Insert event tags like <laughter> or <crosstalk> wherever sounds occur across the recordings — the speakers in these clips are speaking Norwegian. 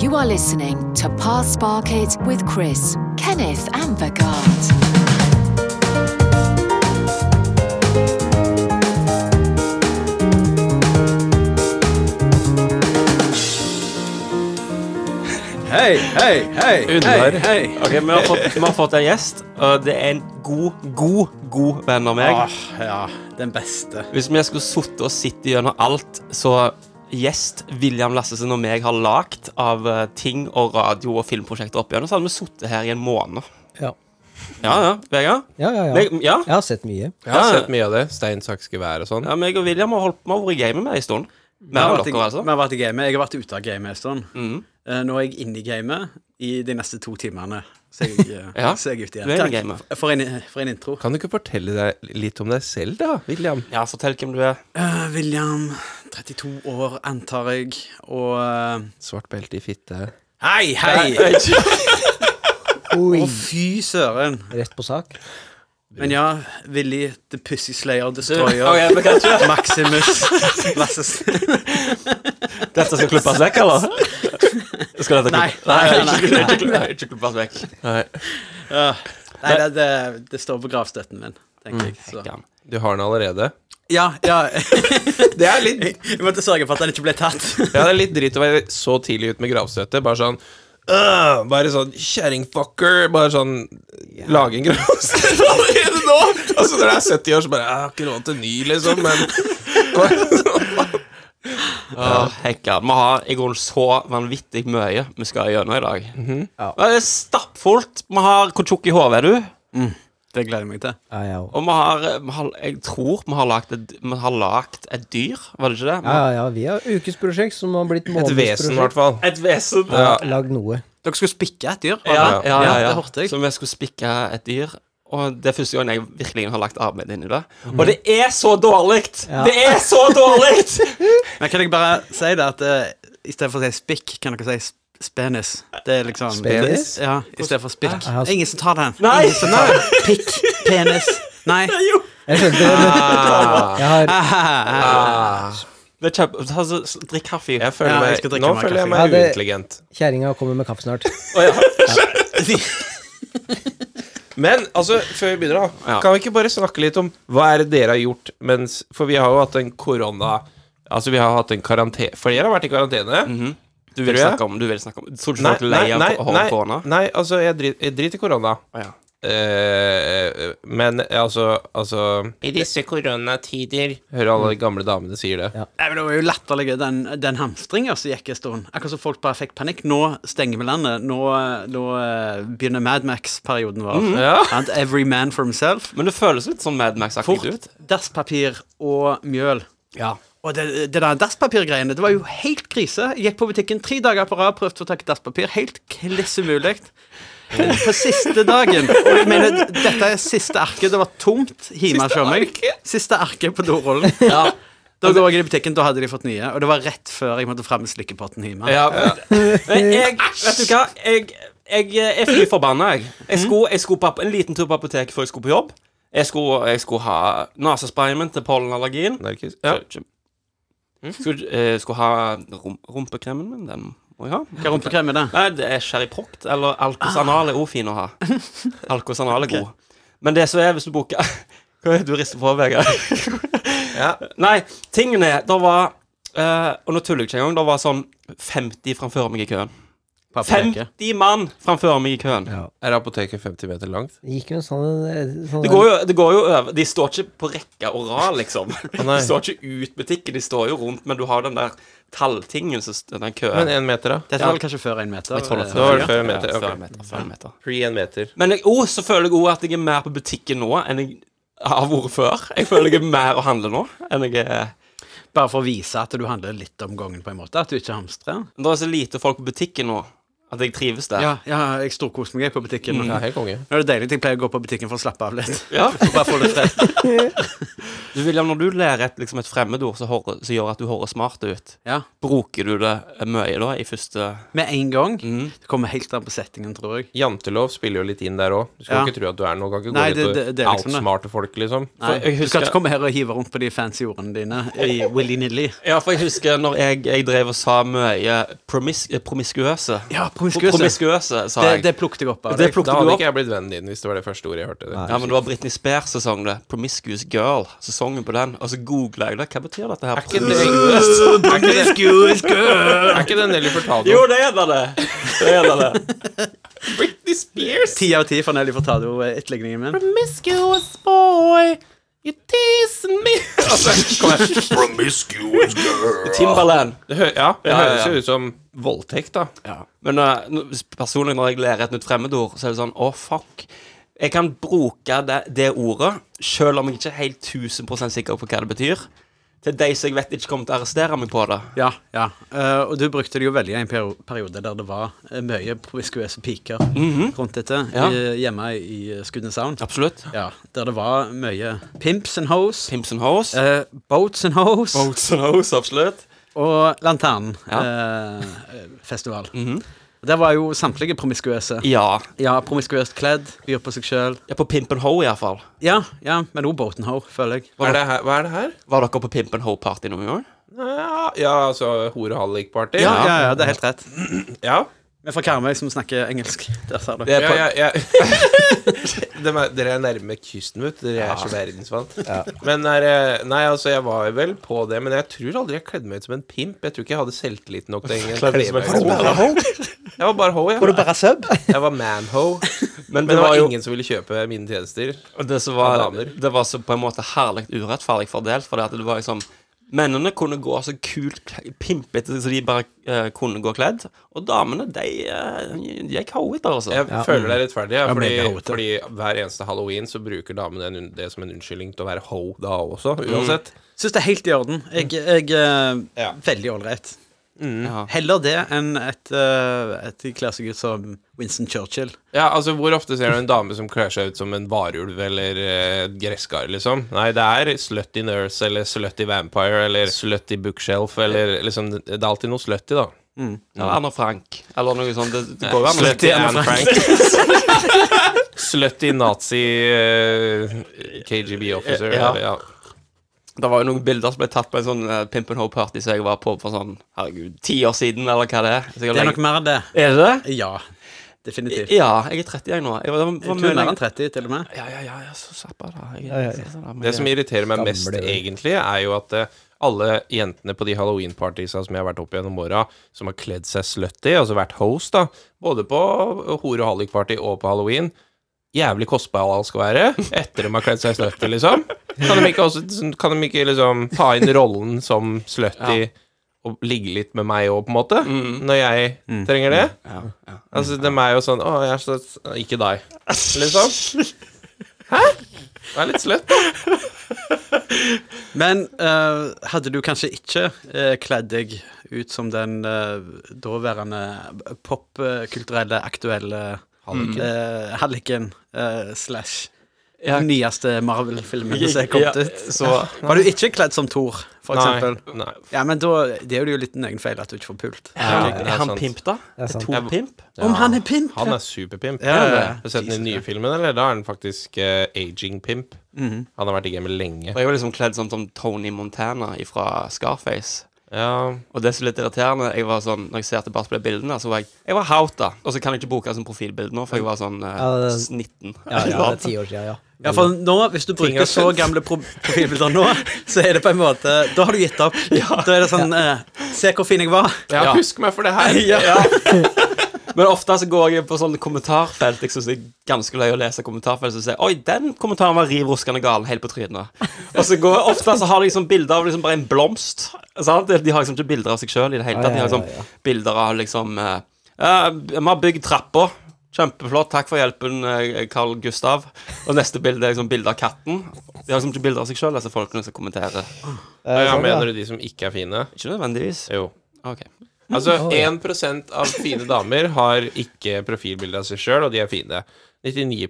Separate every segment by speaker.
Speaker 1: You are listening to Pass Barkit with Chris, Kenneth, and Vagard.
Speaker 2: Hei, hei, hei,
Speaker 3: Under.
Speaker 2: hei, hei.
Speaker 3: Ok, vi har, fått, vi har fått en gjest, og det er en god, god, god venn av meg.
Speaker 2: Ah, ja, den beste.
Speaker 3: Hvis vi skulle sittet og sittet gjennom alt, så gjest William Lassesen og meg har lagt av eh, ting og radio og filmprosjekter opp igjennom, så hadde vi sittet her i en måned.
Speaker 4: Ja.
Speaker 3: Ja, ja, Vegard?
Speaker 4: Ja, ja, ja.
Speaker 3: Meg, ja.
Speaker 4: Jeg har sett mye.
Speaker 5: Jeg har
Speaker 3: Ja, ja.
Speaker 5: sett mye av det. Stein, saks, gevær og sånn.
Speaker 3: ja, meg og William har holdt med å være i gamet med en stund. Mer enn
Speaker 2: vært i-
Speaker 3: dere, altså.
Speaker 2: vi har vært i gamet. Jeg har vært ute av gamet en stund. Eh, Nå er jeg inne i gamet i de neste to timene. Så jeg, <laughs> eh,
Speaker 3: Ja,
Speaker 2: så er jeg ute
Speaker 3: du
Speaker 2: igjen.
Speaker 3: er inne i
Speaker 2: Takk
Speaker 3: gamet.
Speaker 2: f- for en, for en intro.
Speaker 5: Kan du ikke fortelle deg litt om deg selv, da, William?
Speaker 3: Ja, fortell hvem du er.
Speaker 2: Eh, William, 32 år, antar jeg, og eh,
Speaker 5: Svart belte i fitte.
Speaker 2: Hei, <laughs> hei!
Speaker 4: Oi,
Speaker 2: Å, fy søren.
Speaker 4: rett på sak.
Speaker 2: Men ja, Willy the Pussy Slayer <laughs> Destroyer.
Speaker 3: Ok, vi kan ikke
Speaker 2: Maximus <laughs> Lassesen.
Speaker 3: Dette skal klippes vekk, eller? <laughs> Skal dette
Speaker 2: Nei,
Speaker 3: klipp-
Speaker 2: nei,
Speaker 3: Nei,
Speaker 2: nei,
Speaker 3: ikke- ikke klipp- nei, ikke klippes vekk.
Speaker 2: Ja. Nei, det, det, det står på gravstøtten min, tenker jeg. Så.
Speaker 3: Hekken.
Speaker 5: Du har den allerede?
Speaker 2: Ja, ja. <laughs>
Speaker 5: Det er litt,
Speaker 2: Jeg måtte sørge for at den ikke ble tatt.
Speaker 5: ja, det er litt dritt å være så tidlig ute med gravstøtte. Bare sånn «Øh, Bare sånn kjerringfucker. Bare sånn Lage en gravstøtte <laughs> allerede nå! Altså når det er 70 år, så bare Jeg har ikke råd til ny, liksom, men
Speaker 3: Åh, hekka. Vi har i grunnen så vanvittig mye vi skal gjennom i dag.
Speaker 5: Mhm.
Speaker 3: Det er stappfullt. Vi har Hvor tjukk i hodet er du?
Speaker 2: <laughs> Det gleder jeg meg til.
Speaker 4: Ja, ja,
Speaker 3: Og vi har, eh, vi har Jeg tror vi har lagt et, vi har lagt et dyr, var det ikke det?
Speaker 4: ja, ja. Vi har ukesprosjekt som har blitt
Speaker 5: Et vesen, i hvert
Speaker 4: månedsprosjekt.
Speaker 5: fall.
Speaker 3: Et vesen.
Speaker 4: Ja. Lagd noe.
Speaker 2: Dere skulle spikke et dyr? var det?
Speaker 3: Ja, ja, ja, ja,
Speaker 2: det hørte jeg.
Speaker 3: Så vi skulle spikke et dyr. Og det er første gang jeg virkelig har lagt arbeid inn i det.
Speaker 5: Mhm.
Speaker 3: Og det er så dårlig!
Speaker 4: Ja.
Speaker 3: Det er så dårlig!
Speaker 5: <laughs>
Speaker 2: Men kan jeg bare si det at uh, i stedet for å si spikk, kan dere si sp- spenis? Det er liksom
Speaker 4: Spenis?
Speaker 2: Ja, i stedet for spikk.
Speaker 4: Jeg har sp-
Speaker 2: Ingen som tar den.
Speaker 3: Nei!
Speaker 2: Ingen som tar den. Pikk, penis. Nei.
Speaker 3: Jo.
Speaker 4: Jeg skjønte det. men-
Speaker 3: Ah.
Speaker 4: Jeg har,
Speaker 3: Det er kjempe... ta så- så Drikk kaffe.
Speaker 5: Jeg
Speaker 2: Ja,
Speaker 5: føler
Speaker 2: jeg
Speaker 5: meg,
Speaker 2: skal drikke
Speaker 5: nå
Speaker 2: meg
Speaker 5: føler jeg
Speaker 2: kaffe.
Speaker 5: meg
Speaker 4: Ja, det-
Speaker 5: uintelligent.
Speaker 4: kjerringa kommer med kaffe snart.
Speaker 5: Men altså, før vi begynner, da
Speaker 3: Ja.
Speaker 5: kan vi ikke bare snakke litt om hva er det dere har gjort mens For vi har jo hatt en korona Altså, vi har hatt en karantene Flere har vært i karantene.
Speaker 3: Du vil
Speaker 5: Tror jeg.
Speaker 3: snakke om Du vil snakke om Tror du
Speaker 5: Nei,
Speaker 3: folk er Mhm. lei av
Speaker 5: nei,
Speaker 3: å
Speaker 5: nei,
Speaker 3: holde korona?
Speaker 5: nei, altså, jeg drit- jeg driter i korona.
Speaker 3: Ja.
Speaker 5: Eh, men altså, altså I disse koronatider Hører alle de gamle damene sier det.
Speaker 4: Ja.
Speaker 2: Nei, men Det var jo latterlig, den, den hamstringa som gikk en stund. Akkurat som folk bare fikk panikk. Nå stenger vi landet. Nå, nå eh, begynner Madmax-perioden vår.
Speaker 5: Ja.
Speaker 2: And every man for himself.
Speaker 3: Men det føles litt sånn Mad Max-aktig
Speaker 2: Fort.
Speaker 3: ut.
Speaker 2: Dasspapir og mjøl.
Speaker 3: Ja.
Speaker 2: Og det, det der dasspapirgreiene, det var jo helt krise. Jeg gikk på butikken tre dager på rad, prøvde å takke dasspapir. Helt kliss umulig. På siste dagen. Og jeg mener, dette er siste arket. Det var tomt hjemme hos meg. Siste arket på dorullen. Da går jeg i butikken, da hadde de fått nye. Og det var rett før jeg måtte fram med slikkepotten hjemme.
Speaker 3: ja. Men jeg Vet du hva? Jeg, jeg er fly forbanna, jeg. Jeg skulle, jeg skulle på, ap- en liten tur på apoteket før jeg skulle på jobb. Jeg skulle, jeg skulle ha nasesprayen til pollenallergien.
Speaker 5: Narkis. Ja.
Speaker 3: Skulle, eh, skulle ha rum, rumpekremen min. Den må jeg ha.
Speaker 2: Hva rumpekrem er det?
Speaker 3: Nei, det er Sherry Proct eller Alcos Anal er òg fin å
Speaker 5: <laughs>
Speaker 3: ha. Alcos Anal er god. Men det som er, hvis du booker <laughs> Hva er det du rister på, Vegard?
Speaker 5: <laughs> Ja.
Speaker 3: Nei, tingen er Det var eh, Og nå tuller jeg ikke engang. Det var sånn 50 framfor meg i køen.
Speaker 2: På apoteket.
Speaker 3: 50 mann framfor meg i køen.
Speaker 4: Ja.
Speaker 5: Er apoteket 50 meter langt?
Speaker 4: Det gikk jo en sånn, sånn
Speaker 3: Det går, jo, det går jo over De står ikke på rekke og rad, liksom. <laughs>
Speaker 5: nei.
Speaker 3: De står ikke ut butikken, de står jo rundt, men du har den der talltingen som st- Den
Speaker 5: Men
Speaker 3: køen.
Speaker 5: én meter, da?
Speaker 2: Dette
Speaker 3: Ja.
Speaker 2: var vel kanskje før en meter? Eh,
Speaker 3: Jeg tror det
Speaker 5: Da var det
Speaker 3: Ja,
Speaker 5: før en meter.
Speaker 3: ja,
Speaker 5: ok.
Speaker 3: før en meter, før en meter.
Speaker 5: Pre en meter.
Speaker 3: Men jeg, oh, så føler jeg òg at jeg er mer på butikken nå enn jeg har vært før. Jeg føler jeg er mer å handle nå enn jeg er
Speaker 2: Bare for å vise at du handler litt om gangen, på en måte. At du ikke hamstrer.
Speaker 3: Men Det er så lite folk på butikken nå at jeg trives der.
Speaker 2: Ja, ja jeg storkoser meg jeg, på butikken.
Speaker 5: Mm. Ja, helt konge.
Speaker 2: Nå er det deilig at jeg pleier å gå på butikken for å slappe av litt.
Speaker 3: Ja.
Speaker 2: Bare få litt fred.
Speaker 3: <laughs> Du, William, når du lærer et, liksom et fremmedord som hører- som gjør at du høres smart ut,
Speaker 2: Ja.
Speaker 3: bruker du det mye da i første Mm.
Speaker 2: Med en gang. Det kommer helt an på settingen, tror jeg.
Speaker 5: Jantelov spiller jo litt inn der òg. Du skal
Speaker 2: Ja.
Speaker 5: ikke tro at du er noe. Kan ikke gå
Speaker 2: Nei,
Speaker 5: ut
Speaker 2: det-
Speaker 5: og
Speaker 2: det- det er liksom det.
Speaker 5: outsmarte folk, liksom.
Speaker 2: Nei,
Speaker 3: jeg
Speaker 2: Du skal
Speaker 3: husker-
Speaker 2: ikke komme her og hive rundt på de fancy ordene dine i willy-nilly.
Speaker 3: Ja, for jeg husker når jeg, jeg drev og sa mye promis, eh, promiskuøse.
Speaker 2: Ja, promiskuøse.
Speaker 3: Promiskuøse, sa
Speaker 2: Det,
Speaker 3: jeg.
Speaker 2: det plukket jeg opp av
Speaker 3: Det
Speaker 2: deg.
Speaker 3: plukket
Speaker 5: Da
Speaker 3: du
Speaker 5: hadde
Speaker 3: opp.
Speaker 5: ikke jeg blitt vennen din hvis det var det første ordet jeg hørte. Det.
Speaker 3: Ja, men det var Britney Spears sesong, det. Promiscuous Girl. Sesongen på den. Og så googla jeg det. Hva betyr dette her?
Speaker 5: Er ikke det- er ikke det-
Speaker 2: <laughs>
Speaker 5: Er ikke det Nelly fortalte
Speaker 3: Jo,
Speaker 5: om?
Speaker 3: det er da det! Det er da <laughs> det.
Speaker 5: Britney Spears!
Speaker 2: Ti av ti for Nelly Furtado-etterligningen eh, min.
Speaker 5: Promiscuous boy, you tease me altså, kom her.
Speaker 3: Timberland.
Speaker 5: Det hø ja, det
Speaker 3: Ja, ja, ja.
Speaker 5: høres jo ut som voldtekt, da.
Speaker 3: Men eh, nå- personlig, når jeg lærer et nytt fremmedord, så er det sånn Å, fuck. Jeg kan bruke det, det ordet, sjøl om jeg ikke er helt 1000 sikker på hva det betyr, til de som jeg vet ikke kommer til å arrestere meg på det.
Speaker 2: Ja, ja. Eh, og du brukte det jo veldig i en perio- periode der det var eh, mye promiskuøse piker rundt dette
Speaker 3: Mhm. Ja.
Speaker 2: i, hjemme i Skudeneshavn.
Speaker 3: Absolutt.
Speaker 2: Ja, der det var mye pimps and hoes,
Speaker 3: Pimps and hoes.
Speaker 2: eh, boats and hoes
Speaker 3: Boats and hoes, absolutt.
Speaker 2: og Lanternen-festival.
Speaker 3: Ja.
Speaker 2: Der var jo samtlige promiskuøse.
Speaker 3: Ja.
Speaker 2: Mhm. Ja, promiskuøst kledd, byr på seg sjøl.
Speaker 3: Jeg er på Pimp and Ho, iallfall.
Speaker 2: Ja, ja, men òg boat and hoe, føler jeg.
Speaker 5: Hva er det her? Hva er det her?
Speaker 3: Var dere på Pimp and Ho-party noen gang?
Speaker 5: Ja, ja altså horehallikparty?
Speaker 2: Ja, ja, ja, det er helt rett.
Speaker 5: ja.
Speaker 2: Vi er fra Karmøy, som snakker engelsk. Der sa du.
Speaker 3: Det er
Speaker 5: Ja,
Speaker 3: på,
Speaker 5: ja, <laughs> ja. De er, dere er nærme kysten, vet du. Dere er så verdensvant. Men er, eh, nei, altså, jeg var vel på det, men jeg tror aldri jeg kledde meg ut som en pimp. Jeg tror ikke jeg hadde selvtillit nok til å kle meg ut som en pimp. Jeg var bare ho, jeg.
Speaker 2: bare sub?
Speaker 5: Jeg var man-ho.
Speaker 3: men
Speaker 5: Men
Speaker 3: det var jo
Speaker 5: ingen som ville kjøpe mine tjenester.
Speaker 3: det, som var,
Speaker 5: Damer.
Speaker 3: det var så på en måte herlig urettferdig fordelt, for det at det var liksom Mennene kunne gå så kult kle- pimpete så de bare eh, kunne gå kledd, og damene, de uh, gikk hoete, altså.
Speaker 5: Jeg føler det er rettferdig, ja, fordi,
Speaker 2: mega hoete.
Speaker 5: fordi hver eneste halloween så bruker damene en un- det som en unnskyldning til å være ho da også, uansett.
Speaker 2: Syns det er helt i orden. Jeg, jeg eh,
Speaker 5: Ja.
Speaker 2: Veldig ålreit.
Speaker 3: Ja.
Speaker 2: Heller det enn et, eh, et de kler seg ut som Winston Churchill.
Speaker 5: Ja, altså Hvor ofte ser du en dame som kler seg ut som en varulv eller eh, et gresskar, liksom? Nei, det er slutty nurse eller slutty vampire eller slutty bookshelf eller liksom Det er alltid noe slutty, da.
Speaker 3: Eller Anna Frank, eller noe sånt. Det, det går jo an å
Speaker 5: Slutty Anne Frank. <laughs> slutty nazi eh, KGB officer.
Speaker 3: Ja.
Speaker 5: eller, ja.
Speaker 3: Det var jo noen bilder som ble tatt på en sånn eh, Pimp and Ho-party som jeg var på for sånn herregud, ti år siden, eller hva det er. Så jeg har
Speaker 2: Det er
Speaker 3: lenge-
Speaker 2: nok mer det.
Speaker 3: er det det?
Speaker 2: Ja, definitivt.
Speaker 3: Ja, jeg er 30 jeg nå. Jeg var, det
Speaker 2: Du
Speaker 3: var
Speaker 2: er
Speaker 3: mye
Speaker 2: mer enn
Speaker 3: lenger-
Speaker 2: 30, til og med.
Speaker 3: Ja, ja, ja, jeg er så sappa da. Jeg,
Speaker 4: ja, ja.
Speaker 5: Det som irriterer meg
Speaker 4: Gamle
Speaker 5: mest,
Speaker 4: øl.
Speaker 5: egentlig, er jo at eh, alle jentene på de halloween-partysa som jeg har vært opp gjennom åra, som har kledd seg slutty, altså vært host, da, både på hore- og hallik-party og på halloween Jævlig kostbar alt skal være, etter de har kledd seg slutty, liksom. Kan de ikke, også, kan de ikke liksom ta inn rollen som slutty og ligge litt med meg òg, på en måte? Når jeg trenger det?
Speaker 3: Mm. ja, ja.
Speaker 5: Altså, de er jo sånn Å, jeg er så Ikke deg,
Speaker 3: <laughs>
Speaker 5: liksom. Hæ? Det er litt slutt.
Speaker 2: Men eh, hadde du kanskje ikke eh, kledd deg ut som den eh, daværende popkulturelle, aktuelle
Speaker 5: Halliken.
Speaker 2: eh, Halliken eh, slash
Speaker 3: Ja.
Speaker 2: den nyeste
Speaker 5: <laughs>
Speaker 2: Marvel-filmen som er kommet ut?
Speaker 3: Så
Speaker 2: Var du ikke kledd som Thor, for eksempel?
Speaker 5: Nei, nei.
Speaker 2: Ja, men da det er det jo litt din egen feil at du ikke får pult.
Speaker 5: Ja, det
Speaker 3: er
Speaker 5: er
Speaker 3: han
Speaker 5: sant.
Speaker 3: pimp, da?
Speaker 4: Det er sant.
Speaker 3: Tor Pimp?
Speaker 2: Om han er pimp?
Speaker 5: Han er superpimp.
Speaker 2: Ja, ja, ja.
Speaker 5: Har du sett den i den nye filmen, eller? Da er han faktisk eh, aging pimp. Han har vært i gamet lenge.
Speaker 3: Og jeg var liksom kledd sånn som Tony Montana fra Scarface.
Speaker 5: Ja,
Speaker 3: Og det som er litt irriterende, jeg var sånn, når jeg ser tilbake på de bildene, så var jeg Jeg var haut, da. Og så kan jeg ikke bruke det som profilbilde nå, for jeg var sånn eh,
Speaker 4: Ja, det-
Speaker 3: 19.
Speaker 4: Ja, ja, det er ti år siden, ja.
Speaker 2: Ja, for nå, hvis du bruker så gamle pro profilbilder nå, så er det på en måte Da har du gitt
Speaker 5: <laughs>
Speaker 2: opp. Da er det sånn eh, Se hvor fin jeg var.
Speaker 5: ja,
Speaker 3: Ja.
Speaker 5: husk meg for det her!
Speaker 2: <laughs>
Speaker 3: Ja. Men ofte så går jeg på sånne kommentarfelt. Jeg synes det er ganske løy å lese kommentarfelt som sier Oi, den kommentaren var riv ruskende gal. Helt på trynet. Og så går jeg, ofte så har de liksom bilder av liksom bare en blomst. Sant? De har liksom ikke bilder av seg sjøl i det hele tatt. De har liksom
Speaker 4: Ja, ja,
Speaker 3: bilder av liksom eh, «Ja, Vi har bygd trappa. Kjempeflott. Takk for hjelpen, eh, Carl Gustav. Og neste bilde er liksom bilde av katten. De har liksom ikke bilder av seg sjøl, disse folkene som kommenterer.
Speaker 5: Ja,
Speaker 4: sånn, ja.
Speaker 5: mener du de som ikke er fine?
Speaker 3: Ikke nødvendigvis.
Speaker 5: Jo.
Speaker 3: Ok.
Speaker 5: Altså, 1 av fine damer har ikke profilbilde av seg sjøl, og de er fine. 99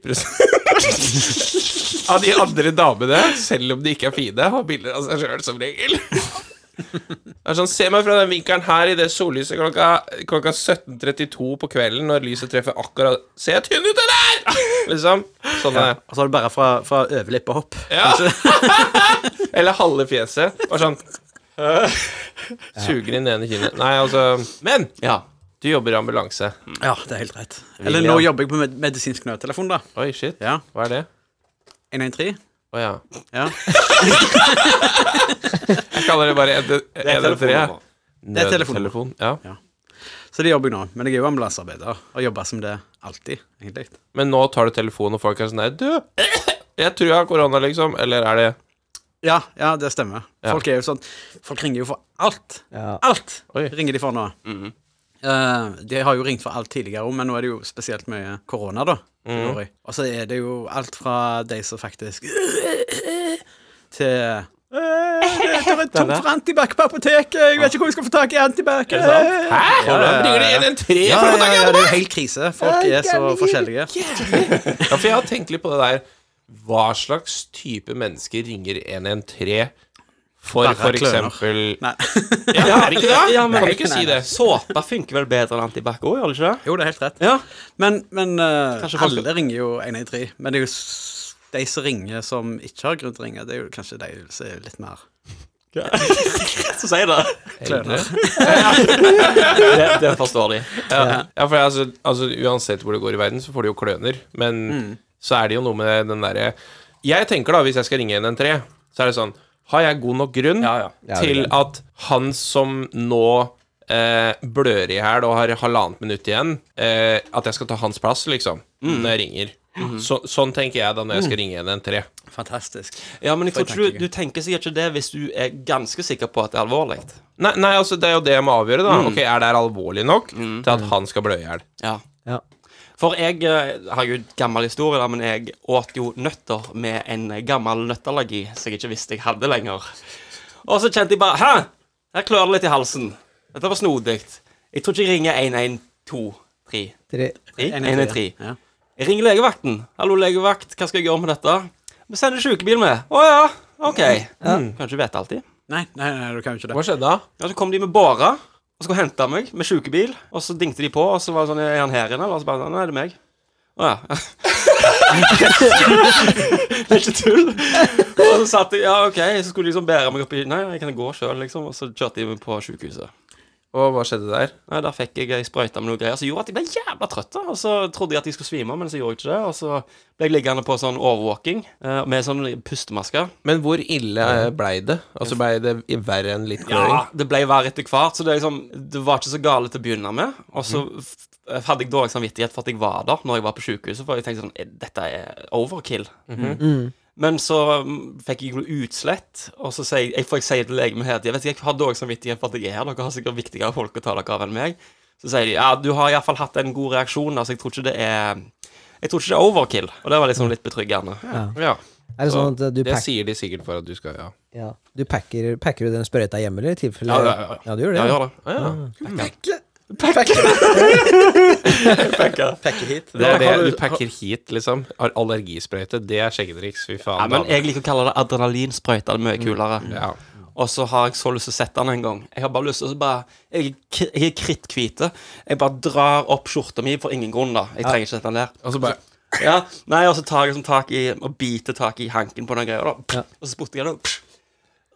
Speaker 5: av de andre damene, selv om de ikke er fine, har bilder av seg sjøl som regel. Det er sånn, Se meg fra den vinkelen her i det sollyset klokka, klokka 17.32 på kvelden når lyset treffer akkurat Ser jeg tynn ut, eller?! Liksom. Sånn er det.
Speaker 2: Og så er det bare fra, fra overlepp og hopp.
Speaker 5: <laughs> Eller halve fjeset. Bare sånn Suger inn det ene kinnet. Nei, altså Men
Speaker 3: Ja.
Speaker 5: du jobber i ambulanse.
Speaker 2: Ja, det er helt rett. Eller nå jobber jeg på med medisinsk nødtelefon, da.
Speaker 5: Oi, shit.
Speaker 2: Ja.
Speaker 5: Hva er det?
Speaker 2: 113.
Speaker 5: Å ja.
Speaker 2: Ja.
Speaker 5: Jeg kaller det bare ED3.
Speaker 3: telefonnummer.
Speaker 2: Det er telefon.
Speaker 5: Ja.
Speaker 2: Så det jobber jeg nå. Men jeg er jo ambulansearbeider og jobber som det alltid, egentlig.
Speaker 5: Men nå tar du telefonen, og folk er sånn Nei, du, jeg tror jeg har korona, liksom. Eller er det
Speaker 2: Ja, ja, det stemmer. Folk er jo sånn Folk ringer jo for alt.
Speaker 4: Ja.
Speaker 2: Alt
Speaker 5: Oi.
Speaker 2: ringer de for nå. Eh, de har jo ringt for alt tidligere òg, men nå er det jo spesielt mye korona, da. det går i. Og så er det jo alt fra de som faktisk <clears throat> Til «Eh, Det er tomt for antibac på apoteket! Jeg vet ikke hvor jeg skal få tak i Eh, antibac! Hæ?
Speaker 3: Eh,
Speaker 5: Hvordan bringer du inn en tre?
Speaker 2: Ja,
Speaker 5: for å få
Speaker 2: ja,
Speaker 5: tak
Speaker 2: ja,
Speaker 5: i
Speaker 2: det
Speaker 5: alle?
Speaker 2: er jo helt krise. Folk er så forskjellige.
Speaker 5: Ja, for jeg har tenkt litt på det der Hva slags type mennesker ringer 113 for
Speaker 2: Bare
Speaker 5: for
Speaker 2: kløner.
Speaker 5: eksempel
Speaker 2: Nei. <laughs>
Speaker 5: Ja, er det ikke det?
Speaker 3: Ja, men-
Speaker 5: kan du ikke si det?
Speaker 3: Såpe funker vel bedre enn antibac òg, gjør det
Speaker 5: <laughs>
Speaker 3: ikke det?
Speaker 2: Jo, det er helt rett.
Speaker 3: Ja.
Speaker 2: Men, men eh,
Speaker 3: Kanskje folk-
Speaker 2: alle ringer jo 113. Men det er jo s- de som ringer som ikke har grunn til å ringe, det er jo kanskje de som er litt mer
Speaker 3: Så sier det.
Speaker 2: klønete.
Speaker 3: det. Det forstår de.
Speaker 5: Ja, ja for altså, altså, uansett hvor det går i verden, så får du jo kløner. Men så er det jo noe med den derre Jeg tenker da, hvis jeg skal ringe 113, så er det sånn Har jeg god nok grunn
Speaker 3: Ja, ja.
Speaker 4: Ja, det er
Speaker 5: til
Speaker 4: det.
Speaker 5: at han som nå eh, blør i hæl og har halvannet minutt igjen, eh, at jeg skal ta hans plass, liksom, når jeg ringer. så, sånn tenker jeg da når jeg skal ringe 113.
Speaker 2: Fantastisk.
Speaker 3: Ja, men jeg tror ikke
Speaker 2: tankegang.
Speaker 3: du, du tenker sikkert ikke det hvis du er ganske sikker på at det er alvorlig.
Speaker 5: Nei, nei, altså, det er jo det jeg må avgjøre, da. Ok, Er det her alvorlig nok til at han skal blø i hjel?
Speaker 3: Ja.
Speaker 4: Ja.
Speaker 3: For jeg eh, har jo en gammel historie, da, men jeg åt jo nøtter med en gammel nøtteallergi som jeg ikke visste jeg hadde lenger. Og så kjente jeg bare Hæ! Her klør det litt i halsen. Dette var snodig. Jeg tror ikke jeg ringer 1123.
Speaker 4: Tre.
Speaker 2: Ja.
Speaker 3: Jeg ringer legevakten. 'Hallo, legevakt, hva skal jeg gjøre med dette?' Vi sender sjukebil med. 'Å ja, ok.' Mm. Kan ikke vite alltid.
Speaker 2: Nei, nei, nei, du kan jo ikke
Speaker 5: Hva
Speaker 2: det.
Speaker 5: skjedde da?
Speaker 3: Ja, så kom de med båra og skulle hente meg med sjukebil. Og så dingte de på, og så var det sånn Er han her inne? eller?» Og så bare sånn, Nei, det er meg. Å ja. <laughs> det er ikke tull. Og så satt de Ja, OK. Så skulle de liksom bære meg opp i Nei, jeg kan gå sjøl, liksom. Og så kjørte de meg på sjukehuset.
Speaker 5: Og hva skjedde der?
Speaker 3: Nei, Der fikk jeg ei sprøyte med noe greier som gjorde at jeg ble jævla trøtt. da. Og så trodde jeg at jeg skulle svime, men så gjorde jeg ikke det. Og så ble jeg liggende på sånn overvåking eh, med sånn pustemaske.
Speaker 5: Men hvor ille eh, blei det? Altså blei det i- verre enn litt kløring?
Speaker 3: Ja, det ble verre etter hvert, så det, er liksom, det var ikke så gale til å begynne med. Og så
Speaker 5: Mm.
Speaker 3: f- hadde jeg dårlig samvittighet for at jeg var der når jeg var på sykehuset, for jeg tenkte sånn, "Eh, dette er overkill.
Speaker 5: Mhm.
Speaker 3: Men så mm, fikk jeg jo utslett, og så sier jeg, jeg- for jeg sier til legen min her at jeg vet ikke, jeg har dårlig samvittighet for at jeg er her, dere har sikkert viktigere folk å ta dere av enn meg. Så sier de, ja, du har i hvert fall hatt en god reaksjon, altså jeg tror ikke det er... Jeg tror ikke det er overkill, og det var liksom litt betryggende.
Speaker 5: Mm. Ja.
Speaker 4: Er det sånn at du
Speaker 5: Det
Speaker 4: packer,
Speaker 5: sier de sikkert for at du skal Ja,
Speaker 4: ja. du packer, packer du den sprøyta hjemme, eller? I tilfelle
Speaker 3: Ja, ja, ja, ja.
Speaker 4: du gjør det?
Speaker 3: Ja, gjør det.
Speaker 5: ah, ja.
Speaker 2: Pakke hit.
Speaker 5: Det er det
Speaker 2: Har du-
Speaker 5: du pakker hit, liksom. Har allergisprøyte, det er sjekketriks. Fy faen.
Speaker 3: Ja, men
Speaker 5: dame.
Speaker 3: jeg liker å kalle det adrenalinsprøyte, det er mye kulere.
Speaker 5: Mm. ja.
Speaker 3: Og så har jeg så lyst til å sette den en gang. Jeg har bare lyst til å bare Jeg, er k- jeg er kritthvite. Jeg bare drar opp skjorta mi for ingen grunn, da. Jeg trenger ikke sette den der.
Speaker 5: Og så bare
Speaker 3: Ja, nei, Og så tar jeg liksom tak i og biter tak i hanken på den greia, da. Pff, Og så spotter jeg den. pff,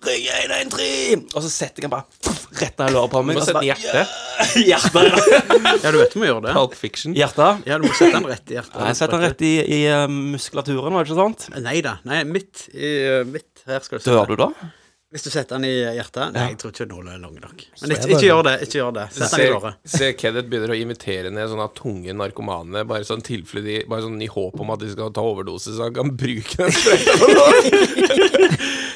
Speaker 3: Ring 113! Og så setter jeg den bare pff, rett ned i låret på
Speaker 5: Du
Speaker 3: meg.
Speaker 5: må
Speaker 3: og så
Speaker 5: sette
Speaker 3: bare-
Speaker 5: hjerte.
Speaker 3: <laughs> Hjertet.
Speaker 2: Ja, du vet du må gjøre det.
Speaker 5: Pulp fiction.
Speaker 3: Hjertet.
Speaker 2: Ja, du må sette den rett i hjertet. Eh,
Speaker 3: Jeg setter den rett i, i eh, muskulaturen, var det ikke sant?
Speaker 2: Nei da. Nei, midt i eh, midt her skal du
Speaker 3: Dør
Speaker 2: sette.
Speaker 3: du da?
Speaker 2: Hvis du setter den i hjertet Nei, jeg tror ikke nåla er lang nok. Men
Speaker 4: er
Speaker 2: ikke,
Speaker 4: bare-
Speaker 2: ikke gjør det. ikke gjør det Sett den i
Speaker 5: Se,
Speaker 2: låret.
Speaker 5: se Kenneth begynner å invitere ned sånne tunge narkomane, bare sånn tilfelle de Bare sånn i håp om at de skal ta overdose, så han kan bruke den sprøyta på noen.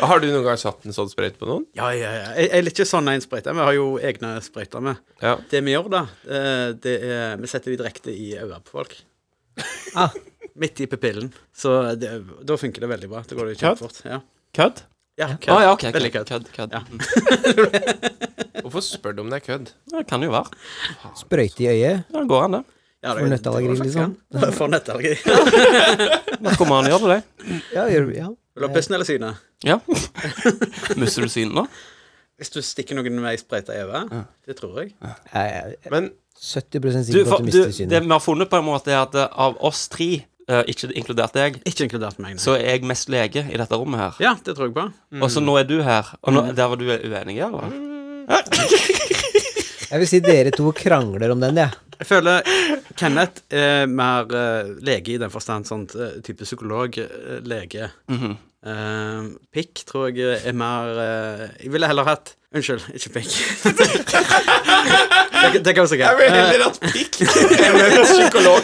Speaker 5: Har du noen gang satt en sånn sprøyte på noen?
Speaker 2: Ja, ja, ja. Jeg, jeg er ikke sånn en sprøyte. Vi har jo egne sprøyter med.
Speaker 5: Ja.
Speaker 2: Det vi gjør, da, eh, det er Vi setter de direkte i øynene på folk.
Speaker 4: Ah.
Speaker 2: Midt i pupillen. Så det, da funker det veldig bra. Da går det kjempefort. Ja.
Speaker 3: Kødd?
Speaker 2: Ja,
Speaker 3: Å Ah, ja, OK.
Speaker 2: Veldig
Speaker 3: Kødd.
Speaker 2: kødd.
Speaker 3: kødd, kødd.
Speaker 2: Ja.
Speaker 5: Hvorfor spør du om det er kødd?
Speaker 3: Ja, det kan jo være.
Speaker 4: Sprøyte i øyet?
Speaker 3: Ja, det går an, det.
Speaker 2: Ja, det-
Speaker 4: For nøtteallergi,
Speaker 2: det var faktisk,
Speaker 4: liksom?
Speaker 2: <laughs> ja. For nøtteallergi.
Speaker 3: Narkomane gjør det, det.
Speaker 4: Ja, gjør, ja.
Speaker 2: Vil du ha pissen eller synet?
Speaker 3: Ja. <laughs> Mister du synet nå?
Speaker 2: Hvis du stikker noen med ei sprøyte i øyet, det tror jeg.
Speaker 4: Jeg jeg er
Speaker 5: Men
Speaker 4: 70
Speaker 3: Du,
Speaker 4: sikker på
Speaker 3: for,
Speaker 4: at du
Speaker 3: du,
Speaker 4: mister
Speaker 3: det
Speaker 4: synet.
Speaker 3: vi har funnet, på en måte er at eh, av oss tre, eh, ikke inkludert deg,
Speaker 2: Ikke inkludert meg. nei.
Speaker 3: så er jeg mest lege i dette rommet her.
Speaker 2: Ja, det tror jeg på.
Speaker 3: Og så nå er du her. Og nå, der var du uenig, eller?
Speaker 4: Jeg vil si dere to krangler om den, jeg. Ja.
Speaker 2: Jeg føler Kenneth er mer eh, lege i den forstand, sånn eh, type psykolog, eh, lege.
Speaker 3: Mhm.
Speaker 2: Eh, pikk tror jeg er mer eh, Jeg ville heller hatt Unnskyld, ikke pikk. <laughs> det, det kan vi sikkert.
Speaker 5: jeg vil
Speaker 2: Eh,
Speaker 5: heller hatt pikk enn en psykolog.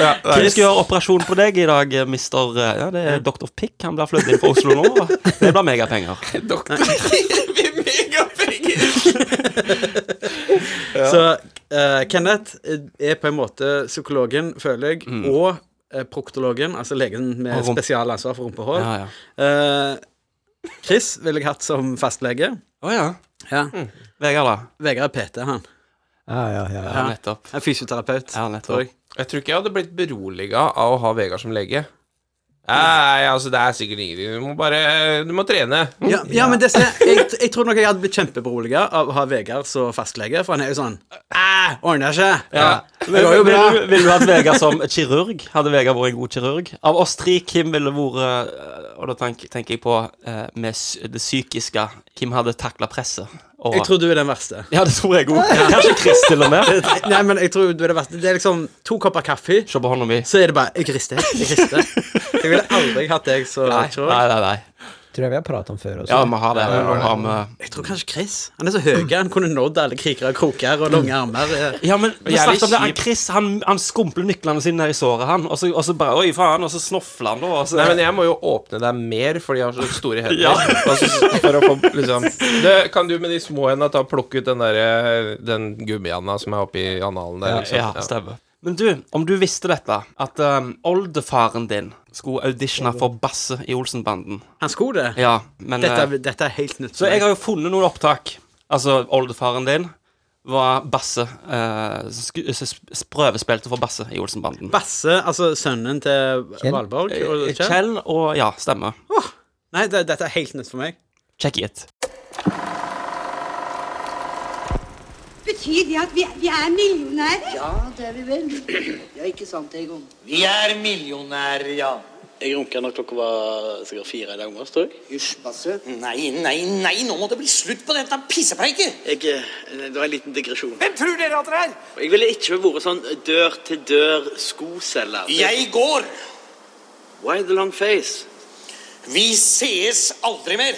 Speaker 5: Ja, det er-
Speaker 3: Vi skal gjøre operasjon på deg i dag, eh, mister eh, Ja, det er doktor Pick. Han blir flyttet inn fra Oslo nå. va? Det blir megapenger. <laughs>
Speaker 5: Doktor med megapenger!
Speaker 2: Så eh, Kenneth er på en måte psykologen, føler jeg, og eh, proktologen, altså legen med
Speaker 3: Og Mm. rump-
Speaker 2: spesialansvar for rumpehår.
Speaker 3: Ja, ja.
Speaker 2: Eh, Chris ville jeg hatt som fastlege.
Speaker 3: Å ja.
Speaker 2: Ja.
Speaker 3: Mm. Vegard, da?
Speaker 2: Vegard er PT, han.
Speaker 4: Ja, ja, ja.
Speaker 3: Ja, nettopp.
Speaker 2: En fysioterapeut,
Speaker 3: Ja, nettopp.
Speaker 2: tror jeg.
Speaker 5: Jeg tror ikke jeg hadde blitt beroliga av å ha Vegard som lege. Nei, altså, det er sikkert ingenting. Du må bare Du må trene.
Speaker 2: Ja, ja, men det, ser- jeg, jeg tror nok jeg hadde blitt kjempeberoliga av å ha Vegard som fastlege, for han er jo sånn Æh, ordner seg.
Speaker 3: Ja.
Speaker 2: Det går jo bra.
Speaker 3: Vil, vil du hatt Vegard som kirurg? Hadde Vegard vært en god kirurg? Av oss tre, hvem ville vært eh, Og da tenk, tenker jeg på eh, med s- det psykiske. Hvem hadde takla presset? Og,
Speaker 2: Jeg tror du er den verste.
Speaker 3: ja, det tror jeg òg. Kanskje Chris til og med.
Speaker 2: <laughs> Nei, men jeg tror du er den verste. Det er liksom to kopper kaffe,
Speaker 3: Se på hånda mi.
Speaker 2: så er det bare Jeg rister, jeg rister. Jeg ville aldri hatt deg som
Speaker 3: Nei,
Speaker 2: kirurg.
Speaker 3: nei, nei. nei.
Speaker 4: Tror jeg vi har pratet om før også.
Speaker 3: Ja, vi har det. Vi har med
Speaker 2: Jeg tror kanskje Chris. Han er så høy. Han kunne nådd alle kriker og kroker og lange armer.
Speaker 3: <laughs>
Speaker 2: eh.
Speaker 3: Ja, men vi
Speaker 5: jeg er
Speaker 3: snakket om det.
Speaker 5: litt
Speaker 3: Han, Chris han, han skumpler nyklene sine ned i såret, han. Og så, og så bare Oi, faen. Og så snofler han, da. Og så,
Speaker 5: Nei, men jeg må jo åpne deg mer, for de har så store hender.
Speaker 3: Ja.
Speaker 5: altså, for å få liksom det, Kan du med de små hendene ta plukke ut den derre Den gummihanda som er oppi analen der? Liksom.
Speaker 3: ja, stemmer. Men du, om du visste dette, at um, oldefaren din skulle auditione for Basse i Olsenbanden
Speaker 2: Han skulle det.
Speaker 3: Ja, men
Speaker 2: Dette,
Speaker 3: eh,
Speaker 2: er- dette er helt nytt.
Speaker 3: Så jeg har jo funnet noen opptak. Altså, oldefaren din var Basse. eh, sku- s- s- prøvespilte for Basse i Olsenbanden.
Speaker 2: Basse, altså sønnen til
Speaker 4: Kjell?
Speaker 2: Valborg og
Speaker 3: Eh,
Speaker 2: Kjell.
Speaker 3: Kjell og Ja, stemmer.
Speaker 2: Nei, det, dette er helt nytt for meg.
Speaker 3: Check it.
Speaker 6: Betyr det at vi, vi er millionærer?
Speaker 7: Ja, det er vi vel. Ja, ikke sant, Egon?
Speaker 8: Vi er millionærer, ja.
Speaker 9: Jeg runka når klokka var sikkert fire i dag morges, tror jeg.
Speaker 7: Hysj, Basse.
Speaker 8: Nei, nei, nei, nå må det bli slutt på dette pissepreiket!
Speaker 9: jeg. eh, Det var en liten digresjon.
Speaker 8: Hvem tror dere at dere er?
Speaker 9: Jeg ville ikke vært sånn dør-til-dør-skoselger.
Speaker 8: Jeg går.
Speaker 9: Why the long face?
Speaker 8: Vi sees aldri mer.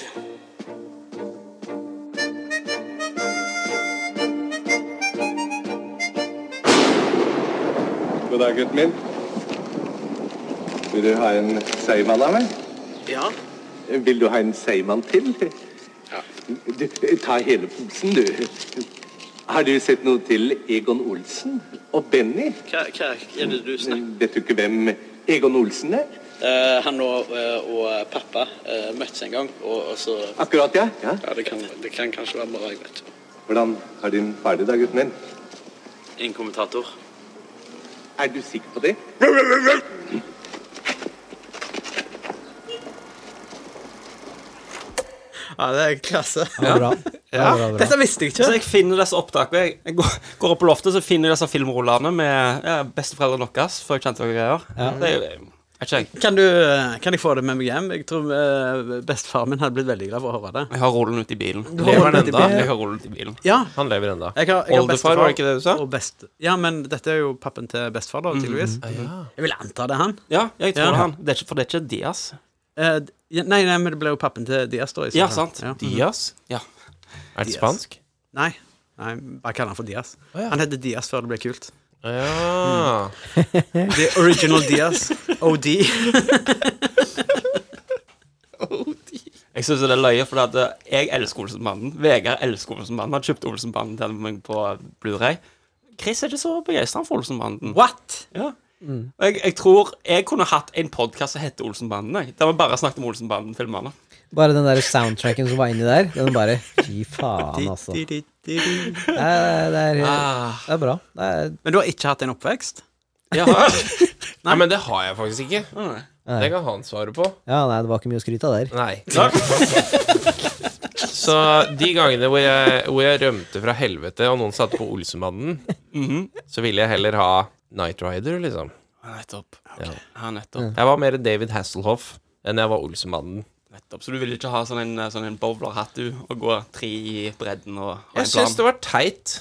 Speaker 10: God dag, gutten min. Vil du ha en seigmann av meg?
Speaker 9: Ja.
Speaker 10: Vil du ha en seigmann til? Du, ta hele posen, du. Har du sett noe til Egon Olsen og Benny?
Speaker 9: Hva, hva er det du snakker om?
Speaker 10: Vet du ikke hvem Egon Olsen er?
Speaker 9: Eh, han og, eh, og pappa eh, møttes en gang, og, og så
Speaker 10: Akkurat, ja. ja.
Speaker 9: Ja, det kan, det kan kanskje være bra, jeg vet ikke.
Speaker 10: Hvordan har din far det da, gutten min?
Speaker 9: En kommentator.
Speaker 10: Er du sikker på det?
Speaker 2: Ja, det er klasse.
Speaker 4: Ja, bra. Ja, bra, bra.
Speaker 2: Dette visste jeg
Speaker 3: Så
Speaker 2: ikke.
Speaker 3: jeg finner disse opptakene. Jeg, jeg går, går opp på loftet, så finner jeg disse filmrullene med ja, besteforeldrene deres. For jeg kjente noen greier. Det er jo- jeg vet ikke, jeg.
Speaker 2: Kan, du, eh, kan jeg få det med meg hjem? Jeg tror eh, bestefaren min hadde blitt veldig glad for å høre det.
Speaker 3: Jeg har rullen ute i bilen.
Speaker 5: Lever han
Speaker 2: Holdt det
Speaker 5: enda?
Speaker 2: til-
Speaker 3: Jeg har rullen ute i bilen.
Speaker 2: Ja.
Speaker 5: Han lever enda.
Speaker 2: Jeg har, jeg har
Speaker 5: Oldefar, var det ikke det du sa? Mm.
Speaker 2: Og best, ja, men dette er jo pappen til bestefar, da, tydeligvis. Jeg vil anta det er han.
Speaker 3: Ja, jeg tror
Speaker 2: Ja.
Speaker 3: det er han. Det er ikke, for det er ikke Dias.
Speaker 2: Eh, d- ja, nei, nei, men det ble jo pappen til Dias, da. i så
Speaker 3: Ja,
Speaker 2: fall.
Speaker 3: sant.
Speaker 2: Ja.
Speaker 5: Dias?
Speaker 3: Ja.
Speaker 5: Er det spansk?
Speaker 2: Nei, nei, bare kall han for Dias.
Speaker 5: ja.
Speaker 2: Han heter Dias før det ble kult.
Speaker 5: Ja.
Speaker 2: The original Dias. OD.
Speaker 3: Jeg syns det er løye, for at eh, jeg elsker Olsenbanden. Vegard elsker Olsenbanden. Han kjøpte Olsenbanden til meg på Blu-ray Chris er ikke så begeistra for Olsenbanden.
Speaker 2: What?
Speaker 3: Ja. Og jeg, jeg tror jeg kunne hatt en podkast som heter Olsenbanden. Jeg. Der vi bare snakket om Olsenbanden-filmene.
Speaker 4: Bare den der soundtracken som var inni der, den bare Fy faen, altså. Nei,
Speaker 2: Men
Speaker 4: Det er, det
Speaker 3: Ah.
Speaker 4: er bra. Det er,
Speaker 2: du har ikke hatt en oppvekst?
Speaker 3: Ja.
Speaker 5: Nei, men det har jeg faktisk ikke.
Speaker 3: <laughs> Nei.
Speaker 5: Det kan han svare på.
Speaker 4: ja, nei, det var ikke mye å skryte av der.
Speaker 5: Nei. Så de gangene hvor jeg, hvor jeg rømte fra helvete, og noen satte på Olsenbanden, så ville jeg heller ha Night Rider, liksom.
Speaker 3: Ja, Nettopp.
Speaker 5: Ja.
Speaker 3: Ja, nettopp.
Speaker 5: Jeg var mer David Hasselhoff enn jeg var Olsenbanden.
Speaker 3: nettopp. Så du ville ikke ha sånn en, sånn en bowlerhatt, du, og gå tre i bredden og ha
Speaker 5: Jeg
Speaker 3: en
Speaker 5: syns det
Speaker 3: plan?
Speaker 5: var teit.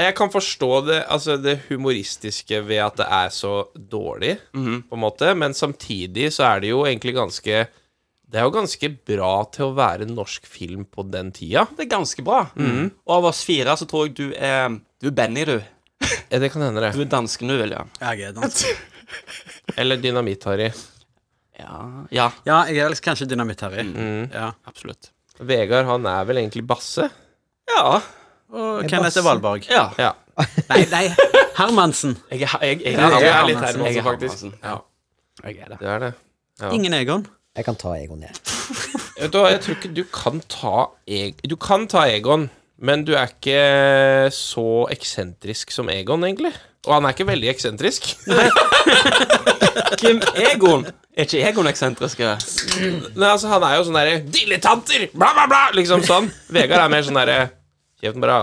Speaker 5: Jeg kan forstå det, altså det humoristiske ved at det er så dårlig, på en måte, men samtidig så er det jo egentlig ganske Det er jo ganske bra til å være norsk film på den tida.
Speaker 3: Det er ganske bra. Og av oss fire så tror jeg du er Du er Benny, du.
Speaker 5: Ja, Det kan hende,
Speaker 3: Du
Speaker 5: det.
Speaker 3: er dansken, du, William.
Speaker 2: Jeg er dansk.
Speaker 5: Eller Dynamitt-Harry.
Speaker 3: Ja. ja.
Speaker 2: Ja, jeg er vel kanskje dynamitt-Harry.
Speaker 5: Mm.
Speaker 2: Ja.
Speaker 3: Absolutt.
Speaker 5: Vegard, han er vel egentlig Basse?
Speaker 3: Ja.
Speaker 2: Og
Speaker 4: Jeg
Speaker 2: Kenneth
Speaker 4: bare-
Speaker 2: er Valborg.
Speaker 3: ja.
Speaker 5: Ja.
Speaker 2: Nei, nei, Hermansen.
Speaker 3: Jeg, er- jeg, jeg,
Speaker 5: Jeg er litt
Speaker 3: Hermansen.
Speaker 5: Hermansen,
Speaker 3: Jeg er
Speaker 5: faktisk.
Speaker 3: Hermansen.
Speaker 5: Ja,
Speaker 2: Jeg er det.
Speaker 5: det er det. Ja.
Speaker 2: Ingen Egon.
Speaker 4: Jeg kan ta Egon, jeg.
Speaker 5: Vet du hva, jeg tror ikke du kan ta Egon Du kan ta Egon, men du er ikke så eksentrisk som Egon, egentlig. Og han er ikke veldig eksentrisk. <laughs>
Speaker 3: Kim Egon. Er ikke Egon eksentrisk? ja?
Speaker 5: Nei, altså, han er jo sånn derre 'Dilettanter!' Bla, bla, bla! Liksom sånn. Vegard er mer sånn derre Kjeften <laughs> bra.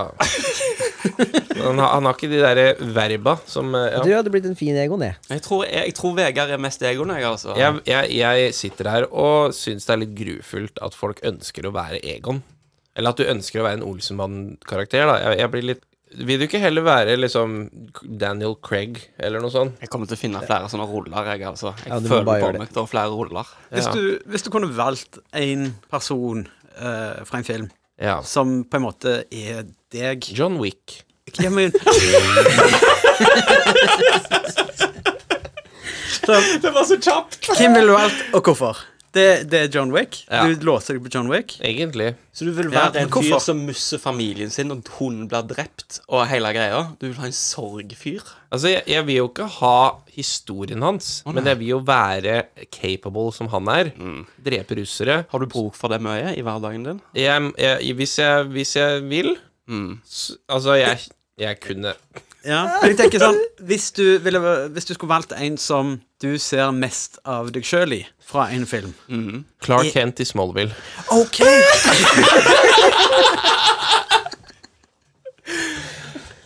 Speaker 5: Han, har- han har ikke de derre verba som eh,
Speaker 4: Du
Speaker 5: ja.
Speaker 4: hadde blitt en fin Egon, jeg.
Speaker 3: Jeg tror, jeg, jeg tror Vegard er mest Egon, jeg, altså.
Speaker 5: jeg, jeg, jeg sitter her og syns det er litt grufullt at folk ønsker å være Egon. Eller at du ønsker å være en Olsenmann-karakter, da. Jeg, jeg blir litt Vil du ikke heller være liksom Daniel Craig, eller noe sånt?
Speaker 3: Jeg kommer til å finne flere sånne ruller, jeg, altså. Jeg
Speaker 4: Ja, du må
Speaker 3: føler
Speaker 4: bare
Speaker 3: på
Speaker 4: gjøre det.
Speaker 3: meg det er flere ruller.
Speaker 2: Hvis du, hvis du kunne valgt en person eh, fra en film
Speaker 5: Ja.
Speaker 2: som på en måte er deg
Speaker 5: John Wick.
Speaker 2: Ja, men så,
Speaker 3: Det var så kjapt!
Speaker 2: Hvem ville du valgt, og hvorfor? Det, det er John Wick. Du låser deg på John Wick.
Speaker 5: Egentlig.
Speaker 3: Så du vil
Speaker 2: Ja,
Speaker 3: være
Speaker 2: men
Speaker 3: en
Speaker 2: hvorfor?
Speaker 3: fyr som musser familien sin, og hun blir drept, og hele greia? Du vil ha en sorgfyr?
Speaker 5: Altså, jeg, jeg vil jo ikke ha historien hans, men jeg vil jo være capable som han er. Drepe russere.
Speaker 3: Har du bruk for det mye i hverdagen din?
Speaker 5: Jeg, jeg, hvis, jeg, hvis jeg vil s, Altså, jeg, jeg kunne
Speaker 2: Ja. Men jeg tenker sånn, hvis du, ville, hvis du skulle valgt en som du ser mest av deg sjøl i fra en film
Speaker 5: Clark Kent i Smallville.
Speaker 2: OK!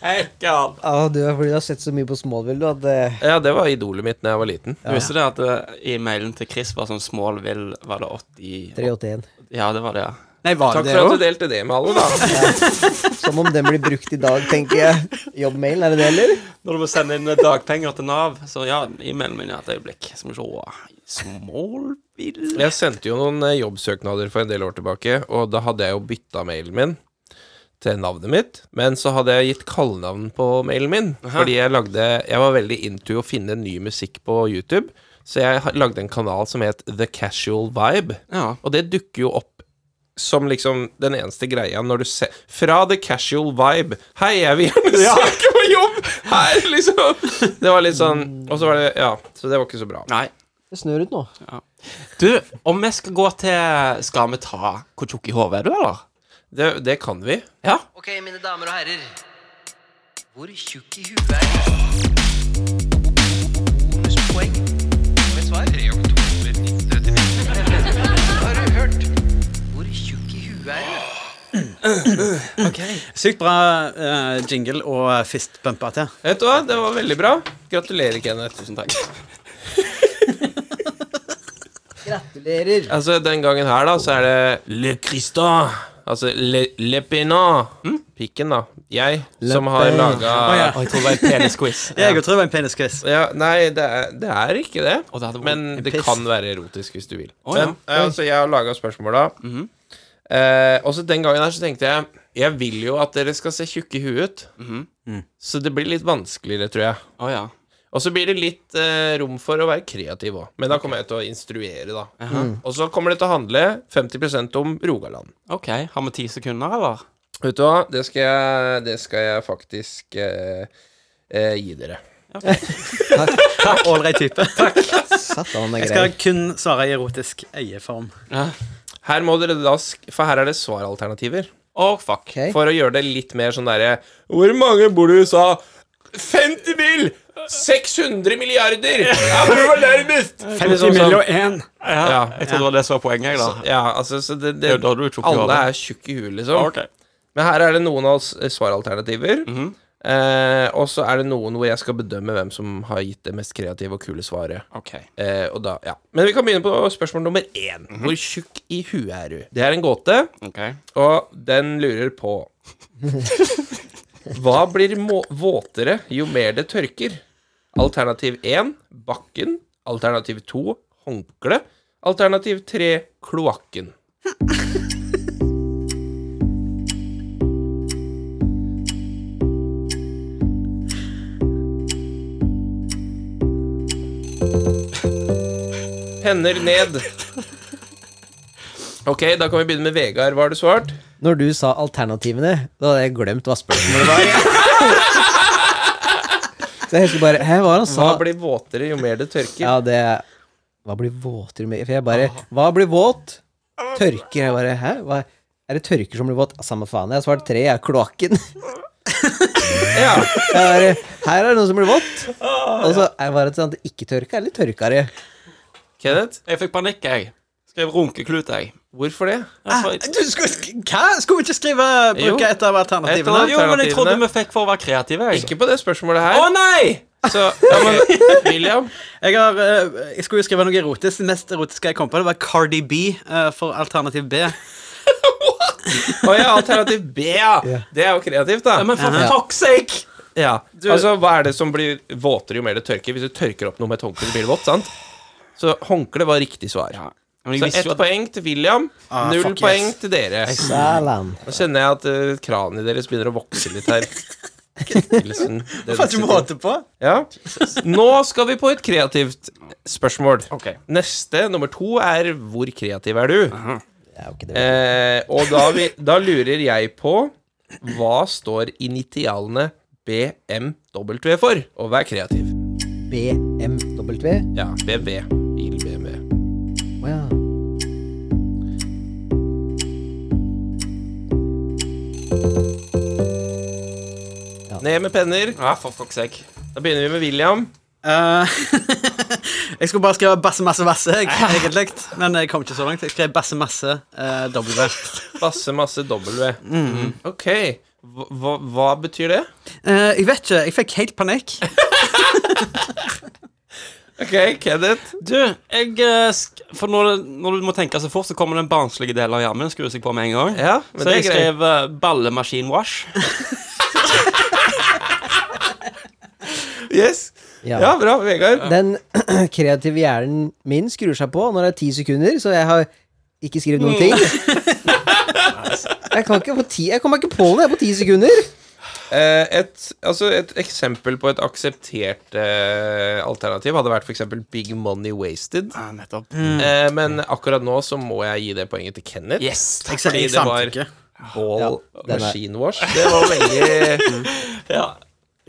Speaker 3: Ekkan.
Speaker 4: Ah, du er fordi du har sett så mye på Smallville, du, at eh,
Speaker 5: Ja, det var idolet mitt da jeg var liten.
Speaker 3: Du visste det at eh, i mailen til Chris var sånn Smallville Var det 80
Speaker 4: 381.
Speaker 3: Ja, det var det, ja.
Speaker 2: Nei, var
Speaker 5: Takk
Speaker 2: det det
Speaker 5: for at du
Speaker 2: òg?
Speaker 5: delte det med alle, <laughs> da.
Speaker 4: Som om den blir brukt i dag, tenker jeg. Jobbmailen, er det det, eller?
Speaker 3: Når du må sende inn eh, dagpenger til Nav, så ja, e-mailen min er et øyeblikk. Så må vi se Smallville
Speaker 5: Jeg sendte jo noen eh, jobbsøknader for en del år tilbake, og da hadde jeg jo bytta mailen min til navnet mitt, men så hadde jeg gitt kallenavn på mailen min, fordi jeg lagde Jeg var veldig into å finne ny musikk på YouTube, så jeg ha- lagde en kanal som het The Casual Vibe,
Speaker 3: Ja.
Speaker 5: og det dukker jo opp som liksom den eneste greia når du ser Fra The Casual Vibe. Hei, jeg vil gjerne <laughs> søke på jobb! Her, liksom. Det var litt sånn Og så var det Ja, så det var ikke så bra.
Speaker 3: Nei.
Speaker 4: Det snør ut nå.
Speaker 3: Du, om vi skal gå til Skal vi ta Hvor tjukk i hodet er du, eller?
Speaker 5: Det, det kan vi.
Speaker 3: Ja.
Speaker 11: Ok, mine damer og herrer. Hvor tjukk i huet er du? Bonuspoeng. Og et svar? 3 oktober 1939. Har du hørt? Hvor tjukk i huet er du?
Speaker 2: Sykt bra eh, jingle og fistbumper til.
Speaker 5: Vet du hva, det var veldig bra. Gratulerer, Kenneth.
Speaker 3: Tusen takk.
Speaker 4: Gratulerer.
Speaker 5: Altså, den gangen her, da, så er det Le Christin. Altså Le, le Pinot. Pikken, da. Jeg som har
Speaker 4: Pen.
Speaker 5: laga
Speaker 2: ja.
Speaker 3: Og jeg tror det var en penisquiz.
Speaker 2: Jeg òg tror det var en penisquiz.
Speaker 5: ja, Nei, det er, det er ikke det.
Speaker 3: Og det hadde vært
Speaker 5: Men
Speaker 2: en
Speaker 5: det
Speaker 2: piss.
Speaker 5: kan være erotisk hvis du vil.
Speaker 3: Å, ja.
Speaker 5: Men eh, altså, jeg har laga spørsmåla. eh, og så den gangen her så tenkte jeg Jeg vil jo at dere skal se tjukke i huet ut. Så det blir litt vanskeligere, tror jeg.
Speaker 3: Å ja.
Speaker 5: Og så blir det litt eh, rom for å være kreativ òg. Men da kommer jeg til å instruere, da. Mm. Og så kommer det til å handle 50 om Rogaland.
Speaker 3: OK. Har vi ti sekunder, eller?
Speaker 5: Vet du hva, det skal jeg, det skal jeg faktisk eh, eh, gi dere.
Speaker 2: Ålreit type.
Speaker 4: Satan, det
Speaker 2: Jeg
Speaker 4: er
Speaker 2: skal
Speaker 4: greit.
Speaker 2: kun svare i erotisk eieform.
Speaker 3: Ja.
Speaker 5: Her må dere da sk- For her er det svaralternativer.
Speaker 3: Oh, fuck.
Speaker 5: For å gjøre det litt mer sånn derre Hvor mange bor du i USA? 50 mil! 600 milliarder! Ja, du var nærmest!
Speaker 3: 50 mil og
Speaker 5: én.
Speaker 3: Ja, jeg trodde det var det som var poenget. jeg, Da.
Speaker 5: Så, ja, altså, så det, det,
Speaker 3: Ja, da er du tjukk i
Speaker 5: alle
Speaker 3: hodet.
Speaker 5: er tjukke i huet, liksom.
Speaker 3: Ok.
Speaker 5: Men her er det noen av s- svaralternativer. eh, og så er det noen hvor jeg skal bedømme hvem som har gitt det mest kreative og kule svaret. Eh, og da, ja. Men vi kan begynne på spørsmål nummer én. Hvor tjukk i huet er du? Det er en gåte, og den lurer på Hva blir må våtere jo mer det tørker? Alternativ 1 bakken. Alternativ 2 håndkle. Alternativ 3 kloakken. Hender ned. Ok, da kan vi begynne med Vegard. Hva har du svart?
Speaker 4: Når du sa alternativene, da hadde jeg glemt hva spørsmålet var. Så jeg husker bare Hæ, hva var det han sa?
Speaker 5: Hva blir våtere jo mer det tørker?
Speaker 4: Ja, det Hva blir våtere med For jeg bare Hva blir våt? Tørker. Jeg bare Hæ? Hva? Er det tørker som blir våt? Samme faen. Jeg har svart tre. Jeg er kloakken.
Speaker 5: ja.
Speaker 4: Jeg bare, her er det noe som blir vått. Og så er det bare sånn at det ikke tørka, eller tørkere.
Speaker 5: Kenneth?
Speaker 3: Jeg fikk panikk, jeg. Skrev runkeklut, jeg.
Speaker 5: Hvorfor det?
Speaker 2: Du, skulle, hva? skulle vi ikke skrive
Speaker 3: Jo.
Speaker 2: bruke Eh, et av
Speaker 3: Et
Speaker 2: alternativene?
Speaker 3: eller annet- Ah, Jo, men jeg trodde vi fikk for å være kreative. Jeg.
Speaker 5: Ikke på det spørsmålet her.
Speaker 3: Å nei!
Speaker 5: Så, ja,
Speaker 3: <laughs>
Speaker 5: men, William?
Speaker 2: Jeg, har, eh, jeg skulle jo skrive noe erotisk. Det mest erotiske jeg kom på, det var Cardi B eh, for alternativ B.
Speaker 5: Å ja, alternativ B, ja. Det er jo kreativt, da.
Speaker 3: Ja, men for
Speaker 5: Ja.
Speaker 3: fuck's sake!
Speaker 5: Ja, altså Hva er det som blir våtere jo mer det tørker? Hvis du tørker opp noe med et håndkle, blir det vått, sant? Så håndkle var riktig svar.
Speaker 3: Men jeg
Speaker 5: Så
Speaker 3: visste
Speaker 5: ett
Speaker 3: jo at-
Speaker 5: poeng til William,
Speaker 2: Ah,
Speaker 5: null
Speaker 2: fuck yes.
Speaker 5: poeng til dere.
Speaker 4: Salam.
Speaker 5: Nå kjenner jeg at eh, kranen deres begynner å vokse litt her. Liksom, det
Speaker 2: Hva du måte på?
Speaker 5: ja. Nå skal vi på et kreativt spørsmål.
Speaker 3: Ok.
Speaker 5: Neste, nummer to, er hvor kreativ er du?
Speaker 4: Det er jo ikke det.
Speaker 5: Eh, og da, vi, da lurer jeg på hva står initialene BMW for? Og vær kreativ.
Speaker 4: BMW.
Speaker 5: Ja, BMW. Bil BMW.
Speaker 4: Å ja.
Speaker 5: Ned med penner.
Speaker 3: Ja, for fuck's sake.
Speaker 5: Da begynner vi med William.
Speaker 2: Eh, <laughs> jeg skulle bare skrive basse masse vasse, jeg, egentlig. Men jeg kom ikke så langt. Jeg skrev basse masse eh, W.
Speaker 5: Basse masse W.
Speaker 4: Mhm.
Speaker 5: Ok. Hva, hva, hva betyr det?
Speaker 2: Eh, jeg vet ikke. Jeg fikk helt panikk.
Speaker 5: Ok, Kenneth.
Speaker 3: Du, jeg eh, sk For når, det- når du må tenke så fort, så kommer den barnslige delen av hjernen min skrur seg på med en gang.
Speaker 5: Ja, men
Speaker 3: Så
Speaker 5: det
Speaker 3: jeg
Speaker 5: er greit.
Speaker 3: skrev eh, ballemaskinwash.
Speaker 5: Yes.
Speaker 4: Ja.
Speaker 5: Ja, bra. Vegard.
Speaker 4: Den <clears throat> kreative hjernen min skrur seg på når det er ti sekunder, så jeg har ikke skrevet noen ting. <laughs> Jeg kan ikke på ti Jeg kommer ikke på noe jeg på ti sekunder.
Speaker 5: Eh, et, altså et eksempel på et akseptert eh, alternativ hadde vært for eksempel Big Money Wasted.
Speaker 3: Ja, nettopp.
Speaker 5: Eh, men akkurat nå så må jeg gi det poenget til Kenneth.
Speaker 3: Mm. <laughs> Yes.
Speaker 2: Jeg
Speaker 5: Fordi
Speaker 2: sier
Speaker 5: det var
Speaker 2: samtykke.
Speaker 5: Ball
Speaker 4: den er-
Speaker 5: Machine Wash. Det var veldig
Speaker 3: Ja.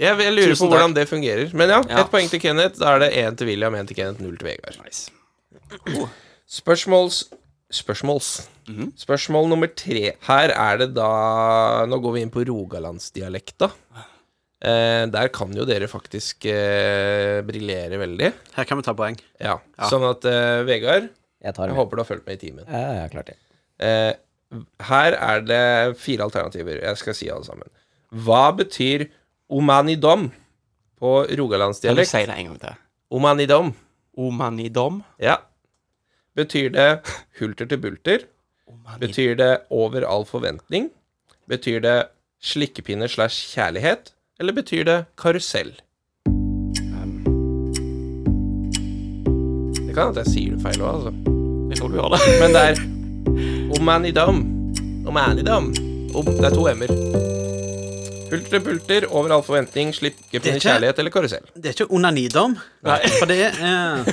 Speaker 5: Jeg, jeg lurer
Speaker 3: Tusen
Speaker 5: på hvordan det fungerer. Men ja,
Speaker 3: Ja.
Speaker 5: ett poeng til Kenneth. Da er det én til William, én til Kenneth, null til Vegard.
Speaker 3: Nice.
Speaker 5: Spørsmåls Spørsmåls. Spørsmål nummer tre. Her er det da Nå går vi inn på rogalandsdialekta. Eh, der kan jo dere faktisk eh, briljere veldig.
Speaker 2: Her kan vi ta poeng.
Speaker 5: Ja. Sånn at eh, Vegard,
Speaker 4: Jeg tar
Speaker 5: jeg håper du har fulgt med i timen.
Speaker 4: Ja, jeg har klart det.
Speaker 5: Eh, her er det fire alternativer. Jeg skal si alle sammen. Hva betyr omanidom på
Speaker 3: Kan du
Speaker 5: rogalandsdialekt?
Speaker 3: si det en gang til?
Speaker 5: Omanidom.
Speaker 3: Omanidom.
Speaker 5: Ja. Betyr det hulter til bulter?
Speaker 3: Omanidom.
Speaker 5: Betyr det over all forventning? Betyr det slikkepinne slash kjærlighet? Eller betyr det karusell? Det kan hende jeg sier det feil òg, altså.
Speaker 3: Jeg tror du gjør det.
Speaker 5: Men det er omanidom. Omanidom. Om, det er to m-er. Hulter til bulter, over all forventning,
Speaker 2: Det er
Speaker 5: slikkepinne,
Speaker 2: ikke-
Speaker 5: kjærlighet eller karusell?
Speaker 2: Det er ikke onanidom.
Speaker 3: Nei.
Speaker 2: <laughs> For det er eh,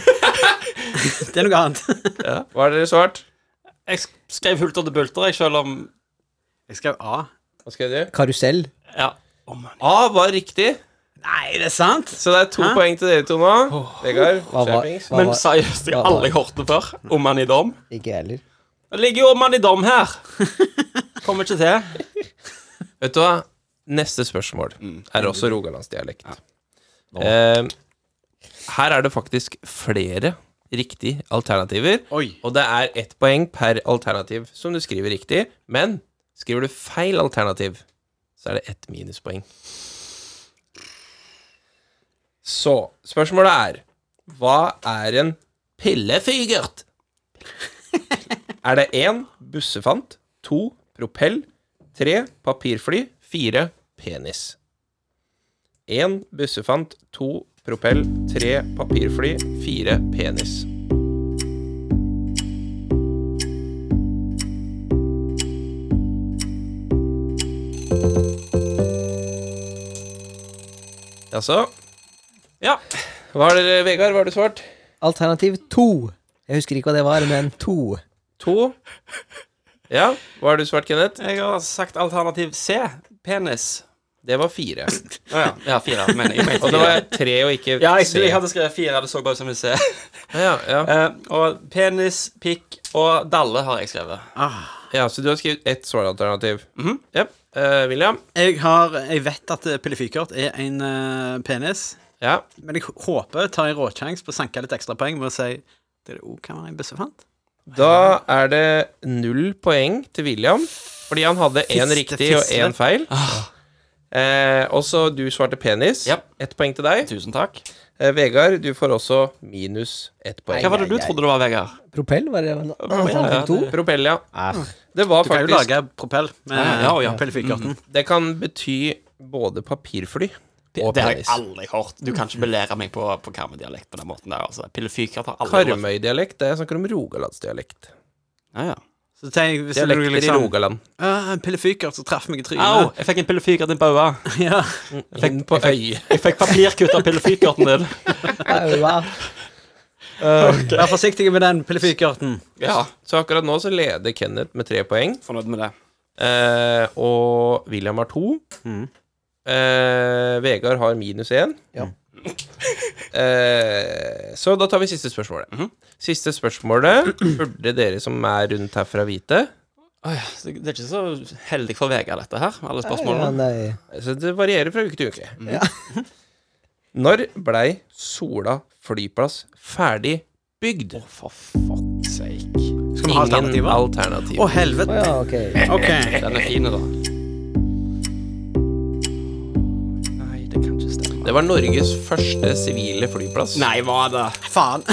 Speaker 2: Det er noe annet.
Speaker 5: Hva har dere svart?
Speaker 3: Jeg sk- skrev hulter til bulter, jeg, selv om
Speaker 2: Jeg skrev A.
Speaker 5: Hva skal jeg gjøre?
Speaker 4: Karusell.
Speaker 3: Ja. Omanidom.
Speaker 5: A var riktig.
Speaker 2: Nei, det er sant?
Speaker 5: Så det er to
Speaker 2: Hæ?
Speaker 5: poeng til dere to nå. Vegard,
Speaker 4: Hva var,
Speaker 5: skjerpings.
Speaker 4: hva
Speaker 3: Men
Speaker 4: var
Speaker 3: seriøst, jeg har
Speaker 4: hva var-
Speaker 3: aldri hørt det før. Omanidom.
Speaker 4: Ikke jeg heller.
Speaker 3: Det ligger jo mann i dom her. Kommer ikke til.
Speaker 5: Vet du hva? Neste spørsmål er også rogalandsdialekt. Eh, her er det faktisk flere riktige alternativer, og det er ett poeng per alternativ som du skriver riktig, men skriver du feil alternativ, så er det ett minuspoeng. Så spørsmålet er Hva er en pillefygert? Er det én bussefant, to propell, tre papirfly, fire penis? Én bussefant, to propell, tre papirfly, fire penis. Jaså? Altså, Ja. Hva har dere, Vegard? Hva har du svart?
Speaker 4: Alternativ to. Jeg husker ikke hva det var, men to.
Speaker 5: To. Ja, hva har du svart, Kenneth?
Speaker 3: Jeg har sagt alternativ C. Penis.
Speaker 5: Det var fire.
Speaker 3: Å ja. ja. Fire, mener jeg. jeg. mente
Speaker 5: <laughs> Og det
Speaker 3: fire.
Speaker 5: var tre og ikke
Speaker 3: ja, jeg,
Speaker 5: tre.
Speaker 3: jeg hadde skrevet fire. Det så bare ut som en C.
Speaker 5: Ja, ja.
Speaker 3: Eh, og penis, pikk og dalle har jeg skrevet.
Speaker 5: ja, så du har skrevet ett svaralternativ.
Speaker 3: Mhm.
Speaker 5: Ja. Eh, William?
Speaker 2: Jeg, har, jeg vet at eh, pillefykert er en eh, penis,
Speaker 5: Ja.
Speaker 2: men jeg håper jeg tar en råsjanse på å sanke litt ekstrapoeng med å si det òg kan være en bussefant.
Speaker 5: Da er det null poeng til William, fordi han hadde én
Speaker 2: Fiste,
Speaker 5: riktig og
Speaker 2: fiste.
Speaker 5: én feil. Eh, og så du svarte penis.
Speaker 3: Ah. Ja.
Speaker 5: Ett poeng til deg.
Speaker 3: Tusen takk.
Speaker 5: Eh, Vegard, du får også minus ett poeng.
Speaker 3: Hva var det du trodde det var, Vegard?
Speaker 4: Propell, var det
Speaker 3: ja,
Speaker 4: alternativ to?
Speaker 5: Propell, ja.
Speaker 3: Ah.
Speaker 5: Mm. Det var
Speaker 2: Du kan jo
Speaker 5: faktisk
Speaker 2: lage propell med
Speaker 3: Ja, ja, ja.
Speaker 2: pillefikerten.
Speaker 5: Det kan bety både papirfly og
Speaker 3: Det har jeg
Speaker 5: penis.
Speaker 3: aldri hørt. Du kan ikke belære meg på, på karmedialekt på den måten der. altså. Pillefykert har aldri hørt.
Speaker 5: Karmøy-dialekt. Det er- Jeg snakker om rogalandsdialekt.
Speaker 3: Ja, ja.
Speaker 2: Så tenk, hvis du
Speaker 5: Dialekter i
Speaker 2: liksom
Speaker 5: Rogaland.
Speaker 2: «Å, En pillefykert som traff meg i
Speaker 3: Au!
Speaker 2: trynet.
Speaker 3: Jeg fikk en pillefykert i baua.
Speaker 2: Ja.
Speaker 5: Inn på øy.
Speaker 3: Jeg fikk papirkutt av pillefikerten din.
Speaker 4: Aua.
Speaker 2: Vær forsiktig med den pillefikerten.
Speaker 3: <laughs> Ja,
Speaker 5: Så akkurat nå så leder Kenneth med tre poeng.
Speaker 3: fornøyd med det.
Speaker 5: Eh, og William har to. Eh, Vegard har minus én.
Speaker 4: Ja.
Speaker 5: <laughs> Eh, så da tar vi siste spørsmålet.
Speaker 3: Mhm.
Speaker 5: Siste spørsmålet <clears throat> burde dere som er rundt herfra, vite.
Speaker 3: Oi, det det er ikke så heldig for Vegard, dette her. Alle
Speaker 4: Ja,
Speaker 3: spørsmålene.
Speaker 4: nei.
Speaker 5: Så det varierer fra uke til uke.
Speaker 3: Mhm.
Speaker 5: <laughs> Når blei Sola flyplass ferdig bygd?
Speaker 3: Å, for fuck's sake.
Speaker 2: Skal vi ha
Speaker 5: Ingen
Speaker 2: alternativer?
Speaker 5: alternativ.
Speaker 2: Å,
Speaker 4: Å
Speaker 2: helvete.
Speaker 4: ja, ok.
Speaker 2: OK.
Speaker 3: Den er fin, da. Nei, det kan ikke stemme.
Speaker 5: Det var Norges første sivile flyplass.
Speaker 3: Nei, hva er det?
Speaker 2: Faen.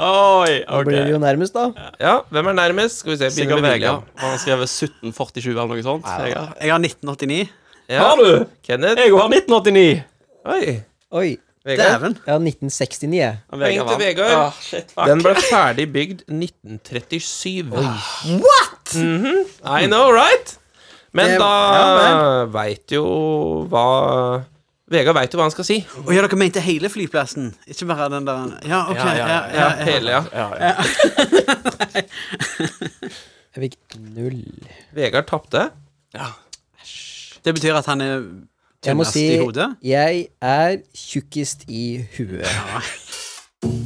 Speaker 3: Oi,
Speaker 4: Da blir det
Speaker 3: ok.
Speaker 4: jo nærmest, da.
Speaker 5: Ja, hvem er nærmest? Skal vi se. Begynner
Speaker 3: Sikkert
Speaker 5: med
Speaker 3: Vegard.
Speaker 5: William.
Speaker 3: Han har skrevet 1747 eller noe sånt. Vegard.
Speaker 2: Jeg har 1989.
Speaker 5: Ja.
Speaker 3: Har du?
Speaker 5: Kenneth.
Speaker 3: Jeg har 1989.
Speaker 5: Oi.
Speaker 4: Oi.
Speaker 5: Vegard.
Speaker 2: Dæven.
Speaker 4: Ja, 1969, jeg.
Speaker 5: Poeng til
Speaker 3: vant.
Speaker 5: Vegard.
Speaker 3: Ah, shit, fuck.
Speaker 5: Den ble ferdig bygd 1937. What?!
Speaker 3: Mhm.
Speaker 5: I know, right? Men
Speaker 2: Det-
Speaker 5: da veit jo hva Vegard veit jo hva han skal si.
Speaker 2: Å ja, dere mente hele flyplassen? Ikke bare den der Ja, OK. Ja,
Speaker 3: ja,
Speaker 2: ja,
Speaker 3: ja,
Speaker 2: ja,
Speaker 5: Hele, ja.
Speaker 3: Ja, ja.
Speaker 4: Jeg fikk null.
Speaker 5: Vegard tapte.
Speaker 2: Det betyr at han er
Speaker 4: Jeg må
Speaker 2: tynnest
Speaker 4: si
Speaker 2: i hodet?
Speaker 4: jeg er tjukkest i huet.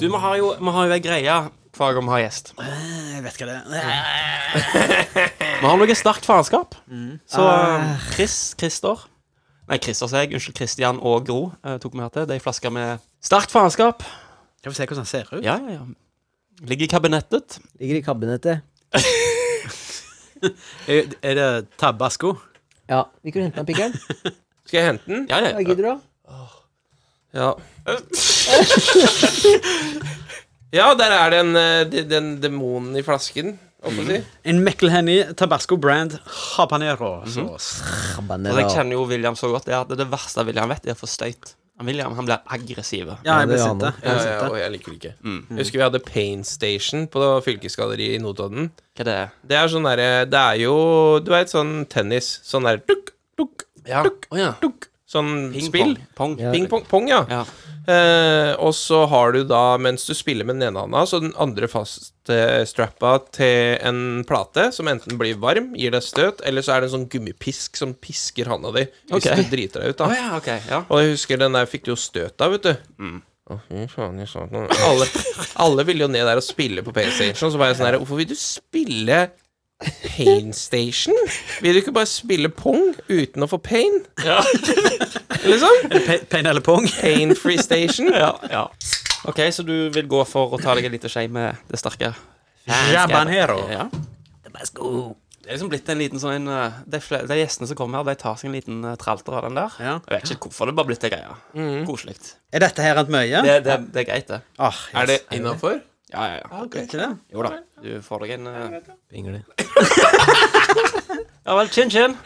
Speaker 3: Du, vi har jo, vi har jo en greie hver gang vi har gjest.
Speaker 2: Jeg vet hva det er.
Speaker 3: <laughs> Vi har noe sterkt faenskap. Så eh, Chris, Christer Nei, Christer, sier jeg. Unnskyld. Christian og Gro eh, tok vi her til. De flasker med sterkt faenskap.
Speaker 2: Jeg får se hvordan han ser ut.
Speaker 3: Ja, ja, ja. Ligger i kabinettet.
Speaker 4: Ligger i kabinettet.
Speaker 2: Er, er det tabasco?
Speaker 4: Ja. Vil ikke du hente meg pikkeren?
Speaker 5: Skal jeg hente den?
Speaker 3: Ja, ja,
Speaker 4: Hva
Speaker 3: ja.
Speaker 4: gidder du, da?
Speaker 5: Ja. <laughs> Ja, der er den, eh, de- den demonen i flasken, holdt på å si.
Speaker 2: En McElhenny tabasco brand habanero. Så
Speaker 3: Og jeg
Speaker 4: Habanero.
Speaker 3: kjenner jo William så godt. Det, er at det verste William vet, er å få støyt. Han William han blir aggressiv.
Speaker 2: Ja, jeg
Speaker 4: det
Speaker 2: blir
Speaker 4: er
Speaker 2: sinte. Jeg
Speaker 4: han.
Speaker 2: blir
Speaker 5: Ja, ja,
Speaker 2: sinte.
Speaker 5: og jeg liker det ikke. Mm. Jeg husker vi hadde Pain Station på fylkesgalleriet i Notodden.
Speaker 3: Hva det er
Speaker 5: Det er sånn derre Det er jo Du veit sånn tennis. Sånn der dukk, dukk,
Speaker 3: ja.
Speaker 5: dukk,
Speaker 3: Å, ja.
Speaker 5: dukk. Sånn
Speaker 3: Ping
Speaker 5: spill.
Speaker 3: Pong. pong.
Speaker 5: Ping pong, pong ja.
Speaker 3: Ja.
Speaker 5: Eh, og så har du da, mens du spiller med den ene handa, så den andre faststrappa til en plate som enten blir varm, gir deg støt, eller så er det en sånn gummipisk som pisker handa di hvis
Speaker 3: Ok.
Speaker 5: du driter deg ut, da.
Speaker 3: Å ja, ok, ja.
Speaker 5: Og jeg husker den der fikk du jo støt av, vet du. Å, fy faen, jeg sa noe. Alle, alle ville jo ned der og spille på PlayStation, så var jeg sånn her Hvorfor vil du spille Pain Station? Vil du ikke bare spille pong uten å få pain? Ja. liksom?
Speaker 2: Pain eller pong?
Speaker 5: Pain Free Station.
Speaker 3: ja, ja. OK, så du vil gå for å ta deg en liten skje med det sterke?
Speaker 2: Habanero.
Speaker 3: Ja. Det er liksom blitt en liten sånn en, eh, de, fle- de gjestene som kommer her, de tar seg en liten eh, tralter av den der. Jeg vet ikke hvorfor det bare blitt det greia.
Speaker 2: Mhm.
Speaker 3: Koselig.
Speaker 2: Er dette her et møye?
Speaker 3: Det, det, det er greit, det.
Speaker 2: Ah, yes.
Speaker 5: innafor?
Speaker 3: Ja, ja,
Speaker 5: Ah,
Speaker 3: ja.
Speaker 2: Ok, ikke det?
Speaker 3: Jo da. Du får deg en eh, <laughs> Ja vel, chin chin.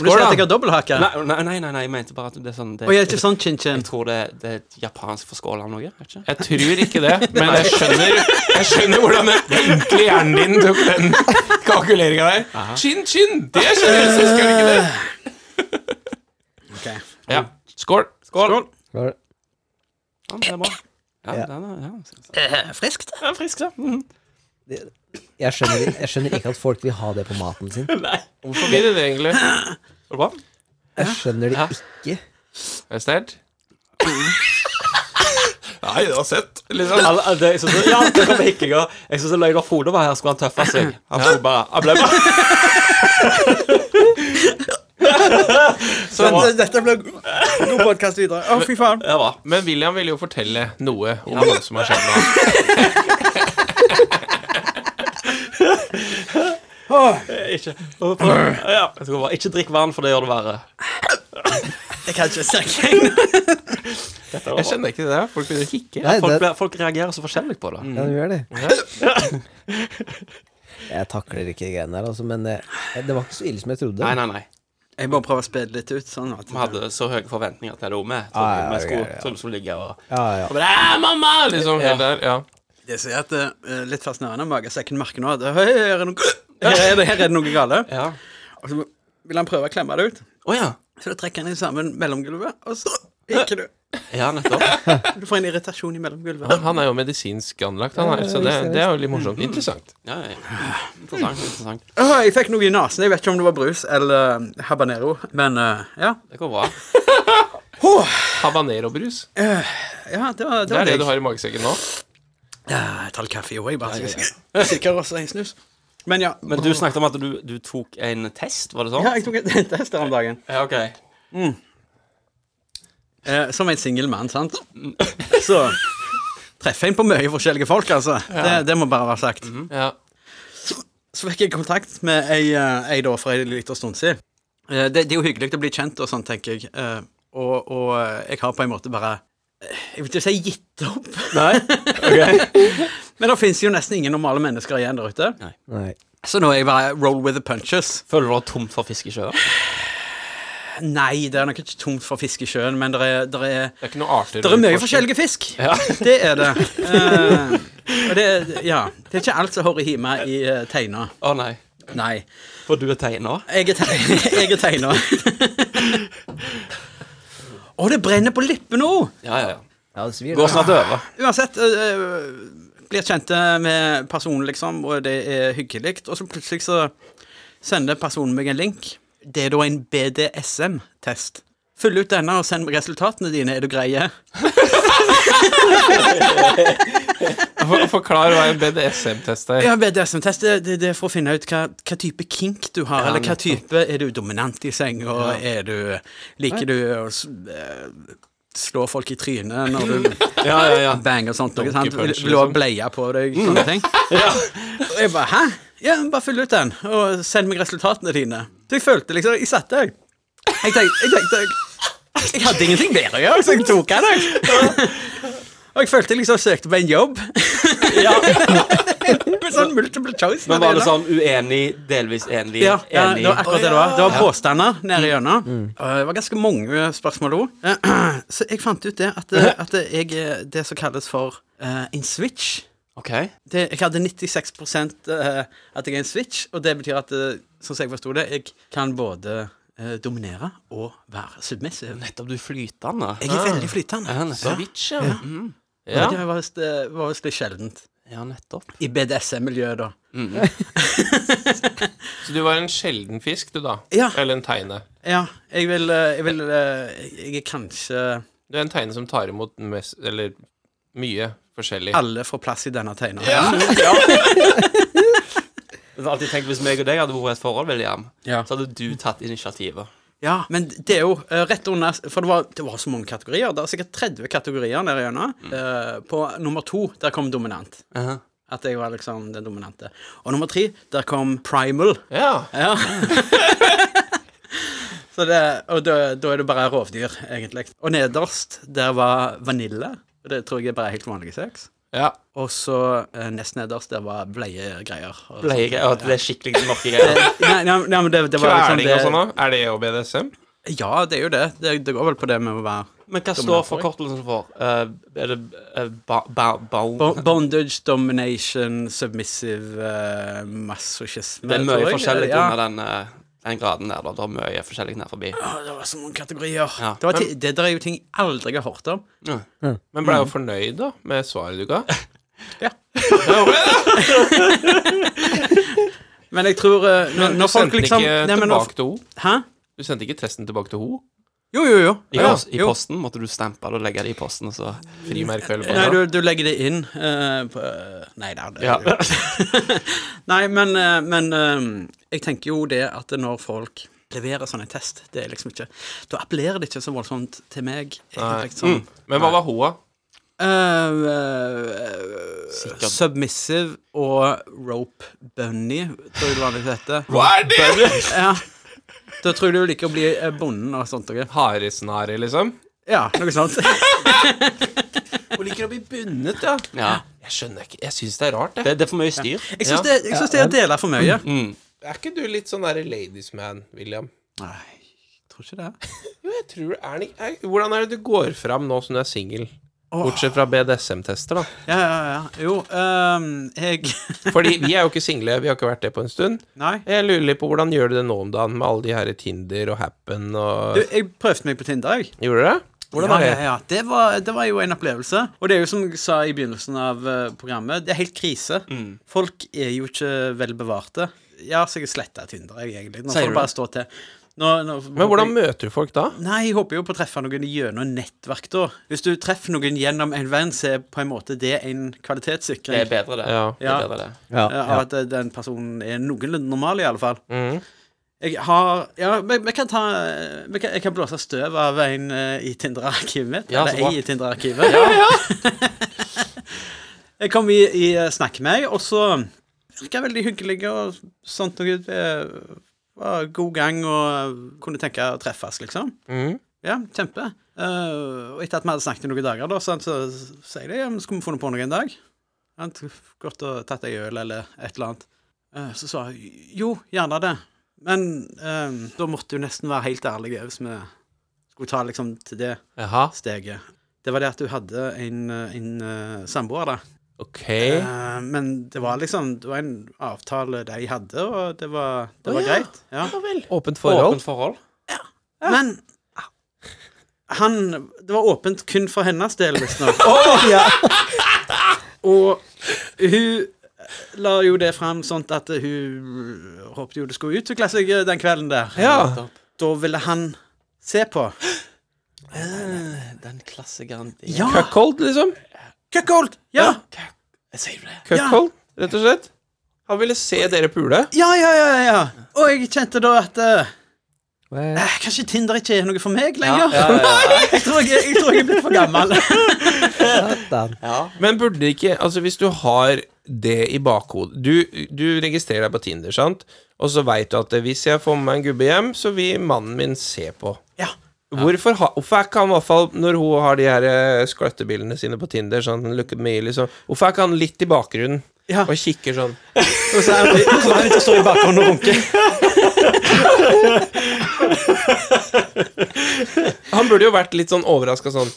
Speaker 2: Vil du si at jeg har dobbelthake?
Speaker 3: Nei, nei, nei, nei, nei, jeg mente bare at det er sånn det,
Speaker 2: Å, ja, ikke sånn chin chin.
Speaker 3: Jeg tror det, det er et japansk for skål av noe. er det Ikke?
Speaker 5: Jeg tror ikke det,
Speaker 3: <laughs>
Speaker 5: men jeg skjønner, jeg skjønner hvordan den enkle hjernen din tok den kalkuleringa der. Chin, chin! Det skjønner jeg, så skal vi ikke det. Ja. Skål. Skål.
Speaker 4: Skål.
Speaker 3: Ja, det er bra. Ja,
Speaker 4: Ja.
Speaker 3: Den er, ja.
Speaker 2: Friskt.
Speaker 3: Ja, frisk, ja. Mhm.
Speaker 4: Jeg skjønner, jeg skjønner ikke at folk vil ha det på maten sin.
Speaker 5: Hvorfor blir det det, egentlig?
Speaker 3: Er det bra?
Speaker 4: Jeg skjønner det
Speaker 3: Ja.
Speaker 4: ikke.
Speaker 5: Er det sterkt? Nei, det var søtt. Liksom.
Speaker 3: Alle, alle- det, jeg synes, ja, det kommer hikkinga. Jeg syns Løyla Frode var her, skulle han tøffe seg. Han, skulle bare, han ble bare
Speaker 2: Så dette ble god podkast videre. Å, fy faen.
Speaker 3: Det var
Speaker 5: Men William ville jo fortelle noe om hva som
Speaker 2: <laughs>
Speaker 5: har skjedd nå.
Speaker 3: eh, Ikke og prøv- ja, jeg tror bare, Ikke drikk vann, for det gjør det verre.
Speaker 2: Jeg kan ikke snakke.
Speaker 5: Jeg skjønner ikke det der. Folk begynner å hikke.
Speaker 3: Folk,
Speaker 4: Nei, det, Mm.
Speaker 3: ble, folk reagerer så forskjellig på det.
Speaker 4: ja, det gjør det. <laughs> Jeg takler ikke de greiene der, altså, men det, det var ikke så ille som jeg trodde.
Speaker 3: Nei, nei, nei.
Speaker 2: Jeg bare prøver å spille litt ut. sånn at
Speaker 3: Vi hadde så høye forventninger til det òg, vi.
Speaker 4: Ja, ja,
Speaker 3: trodde Vi
Speaker 4: ja,
Speaker 3: skulle- sånn
Speaker 4: ja, ja.
Speaker 3: trodde vi skulle ligge og
Speaker 4: Ja, ja.
Speaker 5: Bare, «Æ, mamma! Liksom, helt der, ja.
Speaker 2: Det sier at det er litt fascinerende. Magesekken merker nå at «Hei, her er det noe, her er det, her er det noe gale.
Speaker 3: Ja.
Speaker 2: Og så vil han prøve å klemme det ut.
Speaker 3: Å ja.
Speaker 2: Så da trekker han det sammen mellomgulvet, og så hikker du.
Speaker 3: Ja, nettopp.
Speaker 2: Du får en irritasjon i mellomgulvet.
Speaker 5: Han, han er jo medisinsk anlagt, han her, så det, det er jo litt morsomt. Interessant.
Speaker 3: Ja, ja, ja. Interessant. interessant
Speaker 2: Åh, jeg fikk noe i nesen. Jeg vet ikke om det var brus eller eh, habanero, men eh, ja.
Speaker 3: Det går bra.
Speaker 5: Habanero-brus.
Speaker 2: ja. Det var det,
Speaker 5: Det
Speaker 2: var
Speaker 5: er det
Speaker 2: digg.
Speaker 5: du har i magesekken nå.
Speaker 2: Ja, jeg tar litt kaffe i år, jeg bare. skal- Sikkert også en snus. Men ja.
Speaker 3: Men du snakket om at du, du tok en test, var det sånn?
Speaker 2: ja, jeg <laughs> tok en test her om dagen.
Speaker 3: Ja, ok.
Speaker 2: Eh, som en singel mann, sant? Så treffer en på mye forskjellige folk, altså. Det, det må bare være sagt.
Speaker 5: Ja.
Speaker 2: Så fikk jeg kontakt med ei, eh, ei da for en liten stund siden. Eh, det, det er jo hyggelig å bli kjent og sånn, tenker jeg. Eh, og, og eh, jeg har på en måte bare eh, Jeg vil ikke si gitt opp,
Speaker 3: Nei? Ok.
Speaker 2: <laughs> men det fins jo nesten ingen normale mennesker igjen der ute.
Speaker 4: Nei.
Speaker 2: Så nå er jeg bare roll with the punches.
Speaker 3: Føler du deg tomt for fisk i sjøen?
Speaker 2: Nei, det er nok ikke tomt for fisk i sjøen, men det er, der er
Speaker 5: Det er ikke noe arter
Speaker 2: Det er mye
Speaker 5: å utforske.
Speaker 2: forskjellige fisk. <laughs> Det er det. Eh, og det, ja, det er ikke alt som hører hjemme i eh, teina.
Speaker 3: Å nei.
Speaker 2: Nei.
Speaker 3: For du er tegner?
Speaker 2: Jeg er, te <laughs> jeg er teina. Å, det brenner på lippene òg!
Speaker 3: Ja, ja, ja.
Speaker 4: Ja, det svir.
Speaker 3: Går snart over.
Speaker 2: Uansett. eh, blir kjent med personen, liksom, og det er hyggelig. Og så plutselig så sender personen meg en link. Det er da en BDSM-test. Fyll ut denne og send meg resultatene dine. Er du greie?
Speaker 5: For- Forklar hva en BDSM-test er.
Speaker 2: Ja, BDSM-test det, det, det er for å finne ut hva, hva type kink du har. eller hva type Er du dominant i seng, og er du Liker du å s- eh, slå folk i trynet når du
Speaker 3: Ja, ja, ja.
Speaker 2: banger sånt? Noe, sant? Vil,
Speaker 5: punch,
Speaker 2: vil du ha
Speaker 5: liksom.
Speaker 2: bleie på deg?
Speaker 3: Mm.
Speaker 2: Sånne
Speaker 3: <laughs>
Speaker 2: ting. Og jeg bare Hæ? Ja, bare fyll ut den, og send meg resultatene dine. Så jeg følte liksom Jeg satt der. Jeg tenkte, jeg tenkte jeg, jeg hadde ingenting bedre å gjøre, så jeg tok den. jeg.
Speaker 3: <laughs>
Speaker 2: Og jeg følte jeg liksom søkte på en jobb.
Speaker 3: ja.
Speaker 2: <laughs> Med sånn multiple choice. når
Speaker 3: Men var det
Speaker 2: gjelder.
Speaker 3: sånn uenig, delvis enig,
Speaker 2: Ja, ja,
Speaker 3: enig?
Speaker 2: det var akkurat det det var. Det var påstander nede gjennom.
Speaker 3: Mm.
Speaker 2: Og Det var ganske mange spørsmål òg. <clears throat> Så jeg fant ut det at, eh, at jeg er det som kalles for eh, en switch.
Speaker 3: Ok.
Speaker 2: Det, jeg hadde 96 eh, at jeg er en switch, og det betyr at, eh, sånn som jeg forsto det, jeg kan både eh, eh, dominere og være submissiv.
Speaker 3: Nettopp. Du er flytende.
Speaker 2: Jeg er
Speaker 3: Ah.
Speaker 2: veldig flytende.
Speaker 3: Ja, nettopp. Switch, ja. Mm.
Speaker 2: Ja.
Speaker 3: Ja.
Speaker 2: Det var visst, eh, var visst litt sjeldent.
Speaker 3: Ja, nettopp.
Speaker 2: I BDSM-miljøet, da.
Speaker 5: Så du var en sjelden fisk, du, da?
Speaker 2: Ja.
Speaker 5: Eller en teine?
Speaker 2: Ja, jeg vil, eh, jeg vil eh, Jeg er kanskje
Speaker 5: Du er en teine som tar imot mest, eller mye forskjellig.
Speaker 2: Alle får plass i denne tegneren.
Speaker 3: Jeg har alltid tenkt Hvis meg og deg hadde vært i et forhold, William,
Speaker 2: Ja.
Speaker 3: så hadde du tatt initiativet.
Speaker 2: Ja, men det er jo eh, rett under For det var, det var så mange kategorier. Det er sikkert 30 kategorier der igjennom.
Speaker 5: Mm.
Speaker 2: Eh, på nummer to, der kom dominant.
Speaker 3: Aha.
Speaker 2: At jeg var liksom den dominante. Og nummer tre, der kom primal.
Speaker 5: Ja.
Speaker 2: Ja. <laughs> så det, og da, da er det bare rovdyr, egentlig. Og nederst, der var vanilje. Og Det tror jeg er bare helt vanlig sex.
Speaker 5: Ja.
Speaker 2: Og så eh, nest nederst, der var bleiegreier. og
Speaker 3: Ble jeg,
Speaker 2: sånt.
Speaker 3: at det er skikkelig mørke
Speaker 2: <laughs>
Speaker 3: greier.
Speaker 2: Eh, Nei, nei, nei, men det, det var liksom
Speaker 5: Kveling og sånn òg? Er det jo BDSM?
Speaker 2: Ja, det er jo det. Det, det går vel på det med å være
Speaker 3: Men hva står
Speaker 2: Dominant,
Speaker 3: forkortelsen for? Eh, er det eh, ba, ba, ba,
Speaker 2: Bo- <laughs> Bondage, domination, submissive uh, masochisme.
Speaker 3: Det er mye
Speaker 2: tror jeg.
Speaker 3: forskjellig
Speaker 2: ja.
Speaker 3: under den, eh, den graden der. Da. Det er mye forskjellig ned forbi.
Speaker 2: Ja, det var så mange kategorier.
Speaker 3: Ja.
Speaker 2: Det, var ti, det der er jo ting jeg aldri har hørt om.
Speaker 5: Men blei jo
Speaker 2: Mm.
Speaker 5: fornøyd, da, med svaret du ga.
Speaker 2: Ja.
Speaker 5: Ja, men-
Speaker 2: Men jeg tror eh, når,
Speaker 5: Du
Speaker 2: når folk
Speaker 5: sendte den
Speaker 2: liksom
Speaker 5: ikke
Speaker 2: Nei, men når-
Speaker 5: tilbake til henne?
Speaker 2: Hæ?
Speaker 5: Du sendte ikke testen tilbake til henne?
Speaker 2: Jo, jo, jo.
Speaker 3: I,
Speaker 2: ja,
Speaker 3: pos- I
Speaker 2: jo.
Speaker 3: posten måtte du stempe det og legge det i posten, og så
Speaker 5: Frimerke eller
Speaker 2: Nei,
Speaker 5: hva?
Speaker 2: du, du legger det inn eh, på, Nei da. det-
Speaker 5: <laughs>
Speaker 3: Ja.
Speaker 2: Nei, men, eh, men eh, jeg tenker jo det at når folk leverer sånn en test, det er liksom ikke Da appellerer det ikke så voldsomt til meg. Egentlig, sånn.
Speaker 5: Mm. Men hva var hun, da?
Speaker 2: Eh, eh, submissive og rope bunny, tror jeg det vanligvis heter.
Speaker 5: Hva er det?!
Speaker 2: Ja. Da tror jeg du liker å bli eh, bonden og sånt. Okay?
Speaker 5: Haresnare, liksom?
Speaker 2: Ja, noe sånt.
Speaker 5: <laughs> Hun liker å bli bundet, ja.
Speaker 3: ja.
Speaker 5: Jeg skjønner ikke Jeg syns det er rart, jeg.
Speaker 3: det, det er for mye styr. Mm.
Speaker 2: Jeg syns det, jeg syns det er deler for mye.
Speaker 5: Mm. Er ikke du litt sånn derre ladies man, William?
Speaker 2: Nei, jeg tror ikke det.
Speaker 5: Jo, jeg tror er det ikke- er, Hvordan er det du går fram nå som du er singel? Bortsett fra BDSM-tester, da.
Speaker 2: Ja, ja, ja. Jo, ehm, jeg <laughs>
Speaker 5: Fordi vi er jo ikke single, vi har ikke vært det på en stund.
Speaker 2: Nei.
Speaker 5: Jeg lurer litt på hvordan gjør du det nå om dagen med alle de her Tinder og Happen og
Speaker 2: Du, jeg prøvde meg på Tinder, jeg.
Speaker 5: Gjorde du det? Hvordan
Speaker 2: ja,
Speaker 5: er det?
Speaker 2: Ja, ja. Det, var, det var jo en opplevelse. Og det er jo som jeg sa i begynnelsen av eh, programmet, det er helt krise. Folk er jo ikke vel bevarte. Ja, så jeg sletta Tinder, jeg, egentlig. Nå
Speaker 3: Sier
Speaker 2: får
Speaker 3: du
Speaker 2: det bare stå til. Nå, nå,
Speaker 5: Men hvordan møter du folk da?
Speaker 2: Nei, jeg håper jo på å treffe noen gjennom nettverk, da. Hvis du treffer noen gjennom en venn, så er på en måte det en kvalitetssikring.
Speaker 3: Det er bedre, det.
Speaker 5: Ja.
Speaker 3: det, er bedre, det.
Speaker 4: Ja,
Speaker 2: Ja,
Speaker 4: ja.
Speaker 2: At eh, den personen er noenlunde normal, i alle fall. Jeg har Ja, vi vi kan ta eh, vi kan, Jeg kan blåse støv av en eh, i Tinder-arkivet mitt.
Speaker 3: Ja, så
Speaker 2: eller
Speaker 3: bra.
Speaker 2: ei i Tinder-arkivet. <laughs> jeg kom i, i eh, snakk med ei, og så virka veldig hyggelig og sånt noe. Det var god gang og kunne tenke å treffes, liksom.
Speaker 3: Mm.
Speaker 2: Ja, kjempe. Eh, og etter at vi hadde snakket i noen dager, da, sant, så så sier de ja, men skulle vi funnet på noe en dag. Sant, Gått og tatt ei øl eller et eller annet. Eh, så sa jeg jo, gjerne det. Men eh, da måtte du nesten være helt ærlig hvis vi skulle ta liksom til det
Speaker 5: Jaha.
Speaker 2: steget. Det var det at du hadde en, eh, en eh, samboer, da.
Speaker 5: Ok.
Speaker 2: Eh, men det var liksom Det var en avtale de hadde, og det var, det
Speaker 5: Å,
Speaker 2: var
Speaker 5: ja.
Speaker 2: greit. Ja.
Speaker 5: Åpent forhold.
Speaker 3: Åpent forhold.
Speaker 2: Men han Det var åpent kun for hennes del, visstnok.
Speaker 4: ja.
Speaker 2: Og hun la jo det fram sånn at hun håpte jo det skulle utvikle seg den kvelden der.
Speaker 5: Ja.
Speaker 2: Da ville han se på.
Speaker 3: Den klassikeren
Speaker 2: Ja!
Speaker 5: Cuckold, liksom.
Speaker 2: Cuckold! Ja!
Speaker 3: Sier du det?
Speaker 5: Cuckold, rett og slett. Han ville se dere pule.
Speaker 2: Ja, ja, ja, ja. Og jeg kjente da at eh,
Speaker 4: Well,
Speaker 2: eh, Kanskje Tinder ikke er noe for meg lenger?
Speaker 3: Ja, ja,
Speaker 2: <laughs> Jeg tror jeg, jeg tror jeg er blitt for gammel.
Speaker 4: satan.
Speaker 5: Men burde ikke Altså, hvis du har det i bakhodet Du, du registrerer deg på Tinder, sant? Og så veit du at hvis jeg får med meg en gubbe hjem, så vil mannen min se på.
Speaker 2: Ja.
Speaker 5: Hvorfor, ha, hvorfor er ikke han i hvert fall Når hun har de her eh, skløttebildene sine på Tinder sånn, look at me, liksom, Hvorfor er ikke han litt i bakgrunnen
Speaker 2: Ja.
Speaker 5: og kikker sånn?
Speaker 2: Og så er han- så er han ute og står i bakgrunnen og runker.
Speaker 5: Han burde jo vært litt sånn overraska sånn.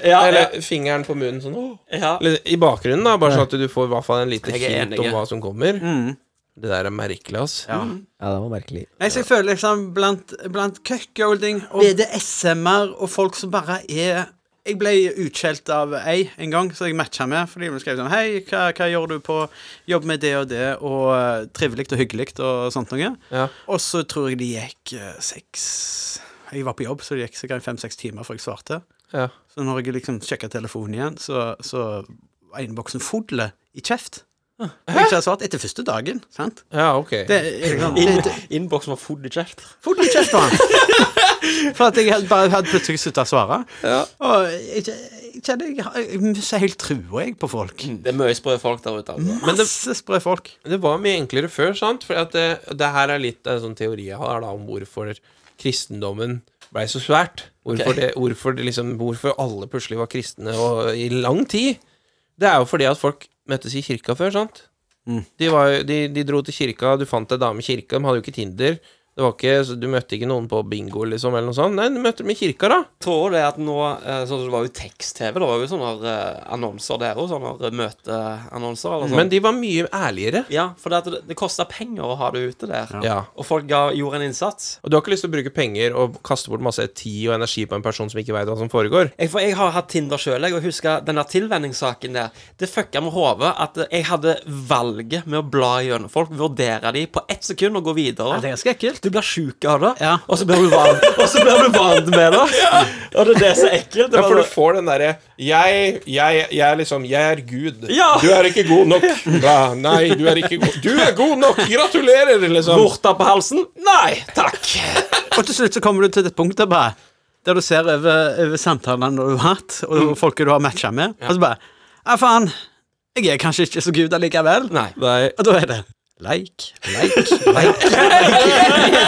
Speaker 3: Ja,
Speaker 5: Eller fingeren på munnen sånn. «Åh».
Speaker 3: ja.
Speaker 5: Eller, I bakgrunnen, da, bare sånn at du får i hvert fall en liten
Speaker 3: Jeg Mm. er
Speaker 5: hint
Speaker 3: enig.
Speaker 5: om hva som kommer. Det der er merkelig, ass.
Speaker 2: Ja.
Speaker 4: Ja, det var merkelig.
Speaker 2: Nei, så jeg føler liksom blant, blant cuckolding og BDSM-er og folk som bare er Jeg ble utskjelt av ei en gang, så jeg matcha med. Fordi hun skrev sånn Hei, hva, hva gjør du på jobb med det og det, og eh, trivelig og hyggelig og sånt noe. Og så tror jeg det gikk eh, seks Jeg var på jobb, så det gikk sikkert fem-seks timer før jeg svarte.
Speaker 5: Ja.
Speaker 2: Så når jeg liksom sjekka telefonen igjen, så, så var innboksen full i kjeft. Og Jeg ikke hadde svart etter første dagen, sant?
Speaker 5: Ja, ok.
Speaker 2: Det er sånn-
Speaker 3: In-
Speaker 2: det-
Speaker 3: Innboksen var full i kjeft.
Speaker 2: Fort i kjeft på han. <laughs> For at jeg hadde bare hadde plutselig slutta å svare. Og jeg, jeg kjenner jeg, jeg mister helt trua, jeg, på folk.
Speaker 3: Mm. Det er mye sprø folk der ute. Altså.
Speaker 5: Men det,
Speaker 2: Masse sprø folk.
Speaker 5: det var mye enklere før, sant? For at det, det her er litt en sånn teori jeg har da, om hvorfor kristendommen blei så svært. Hvorfor,
Speaker 3: Ok.
Speaker 5: det, hvorfor, det liksom, hvorfor alle plutselig var kristne og, i lang tid. Det er jo fordi at folk møttes i kirka før, sant? De, var, jo- de, de dro til kirka, du fant ei dame i kirka, de hadde jo ikke Tinder. Det var ikke, så du møtte ikke noen på bingo, liksom, eller noe sånt. Nei, du møtte dem i kirka, da.
Speaker 3: Tror du det at nå eh, Sånn som det var jo tekst-TV, det var jo sånne eh, annonser der òg, sånne eh, møteannonser eller sånn.
Speaker 5: Men de var mye ærligere.
Speaker 3: Ja, for det, at det, det kosta penger å ha det ute der.
Speaker 5: Ja.
Speaker 3: Og folk ga, gjorde en innsats.
Speaker 5: Og du har ikke lyst til å bruke penger og kaste bort masse tid og energi på en person som ikke veit hva som foregår.
Speaker 3: Jeg, for jeg har hatt Tinder sjøl, og husker den der tilvenningssaken der. Det fucka med hodet at jeg hadde valget med å bla gjennom folk, vurdere de på ett sekund og gå videre.
Speaker 2: Ja, det er ganske ekkelt.
Speaker 3: Du blir sjuk av det,
Speaker 2: Ja.
Speaker 3: og så blir du <laughs> vant, og så blir du vant med det. Og det er det som er ekkelt. Det
Speaker 5: Ja, for
Speaker 3: bare-
Speaker 5: du får den derre jeg, jeg, jeg er liksom Jeg er Gud.
Speaker 3: Ja.
Speaker 5: Du er ikke god
Speaker 3: <laughs>
Speaker 5: nok. Bra. Nei, du er ikke god Du er god nok! Gratulerer, liksom.
Speaker 3: Vorta på halsen? Nei takk.
Speaker 2: Og til slutt så kommer du til et punkt der bare Der du ser over, over samtalene du har hatt, og folket du har matcha med, og så bare Ja, faen. Jeg er kanskje ikke så gud allikevel.
Speaker 3: Nei.
Speaker 2: Og da er det like, like, like. like.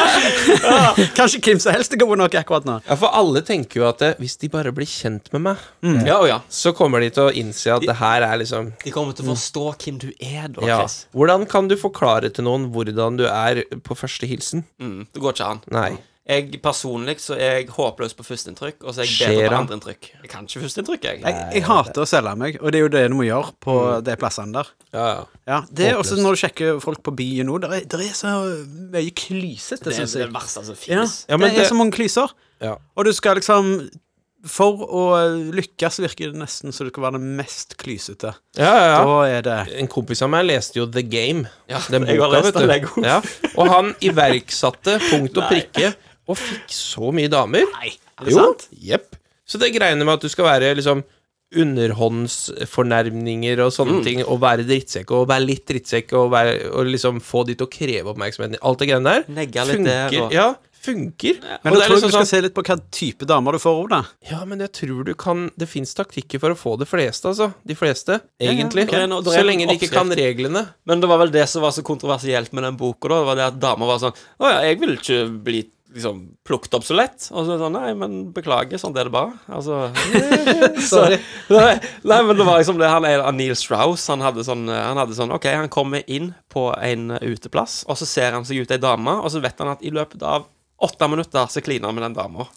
Speaker 2: kanskje hvem som helst er god nok akkurat nå.
Speaker 5: Ja, for alle tenker jo at eh, hvis de bare blir kjent med meg,
Speaker 3: Ja og ja.
Speaker 5: så kommer de til å innse at det her er liksom
Speaker 3: De kommer til å forstå hvem du er, da.
Speaker 5: ja.
Speaker 3: Chris.
Speaker 5: Hvordan kan du forklare til noen hvordan du er på første hilsen?
Speaker 3: Mm, det går ikke an.
Speaker 5: Nei.
Speaker 3: Jeg personlig så er jeg håpløs på førsteinntrykk, og så er jeg
Speaker 5: Skjer
Speaker 3: bedre på
Speaker 5: han?
Speaker 3: andreinntrykk. Jeg kan ikke førsteinntrykk, jeg.
Speaker 2: Jeg, jeg hater å selge meg, og det er jo det du må gjøre på de plassene der.
Speaker 5: Ja, ja.
Speaker 2: Ja, det er også når du sjekker folk på byen nå, der er, der er så mye klysete,
Speaker 3: Det er
Speaker 2: syns
Speaker 3: det
Speaker 2: jeg.
Speaker 3: verste
Speaker 2: Ja,
Speaker 3: som finnes.
Speaker 5: altså, Ja,
Speaker 2: det
Speaker 5: men
Speaker 2: er
Speaker 5: det-
Speaker 2: så mange klyser.
Speaker 5: Ja.
Speaker 2: Og du skal liksom For å lykkes virker det nesten så du skal være den mest klysete.
Speaker 5: Ja, ja, ja.
Speaker 2: Da er det
Speaker 5: En kompis av meg leste jo The Game.
Speaker 3: Ja,
Speaker 5: den
Speaker 3: jeg har
Speaker 5: boka,
Speaker 3: lest
Speaker 5: vet
Speaker 3: den,
Speaker 5: du.
Speaker 3: jeg også.
Speaker 5: Ja, og han iverksatte punkt og prikke og fikk så mye damer. Nei,
Speaker 2: er det sant?
Speaker 5: Jepp. Så det greiene med at du skal være liksom underhåndsfornærmninger og sånne
Speaker 3: Mm.
Speaker 5: ting, og være drittsekk og være litt drittsekk og, være, og liksom få de til å kreve oppmerksomheten Alt det greiene der
Speaker 3: Negge litt der og-
Speaker 5: Ja, funker.
Speaker 2: Men
Speaker 5: Og
Speaker 2: da
Speaker 5: det
Speaker 2: tror
Speaker 5: er
Speaker 2: jeg
Speaker 5: liksom
Speaker 2: du skal
Speaker 5: sånn-
Speaker 2: se litt på hva type damer du får òg, da.
Speaker 5: ja, men jeg tror du kan Det fins taktikker for å få det fleste, altså. De fleste, egentlig.
Speaker 3: Det er no- det er
Speaker 5: Så
Speaker 3: en
Speaker 5: lenge de ikke kan
Speaker 3: oppskrift.
Speaker 5: reglene.
Speaker 3: Men det var vel det som var så kontroversielt med den boka, da. Det var det at damer var sånn Å ja, jeg vil ikke bli liksom plukket opp så lett. Og så sånn Nei, men beklager, sånn er det bare. Altså Sorry. Nei, nei, men det var liksom det han er Neil Strauss. Han hadde sånn eh, Han hadde sånn OK, han kommer inn på en eh, uteplass, og så ser han seg ut ei dame, og så vet han at i løpet av Åtte minutter så kliner han med den dama.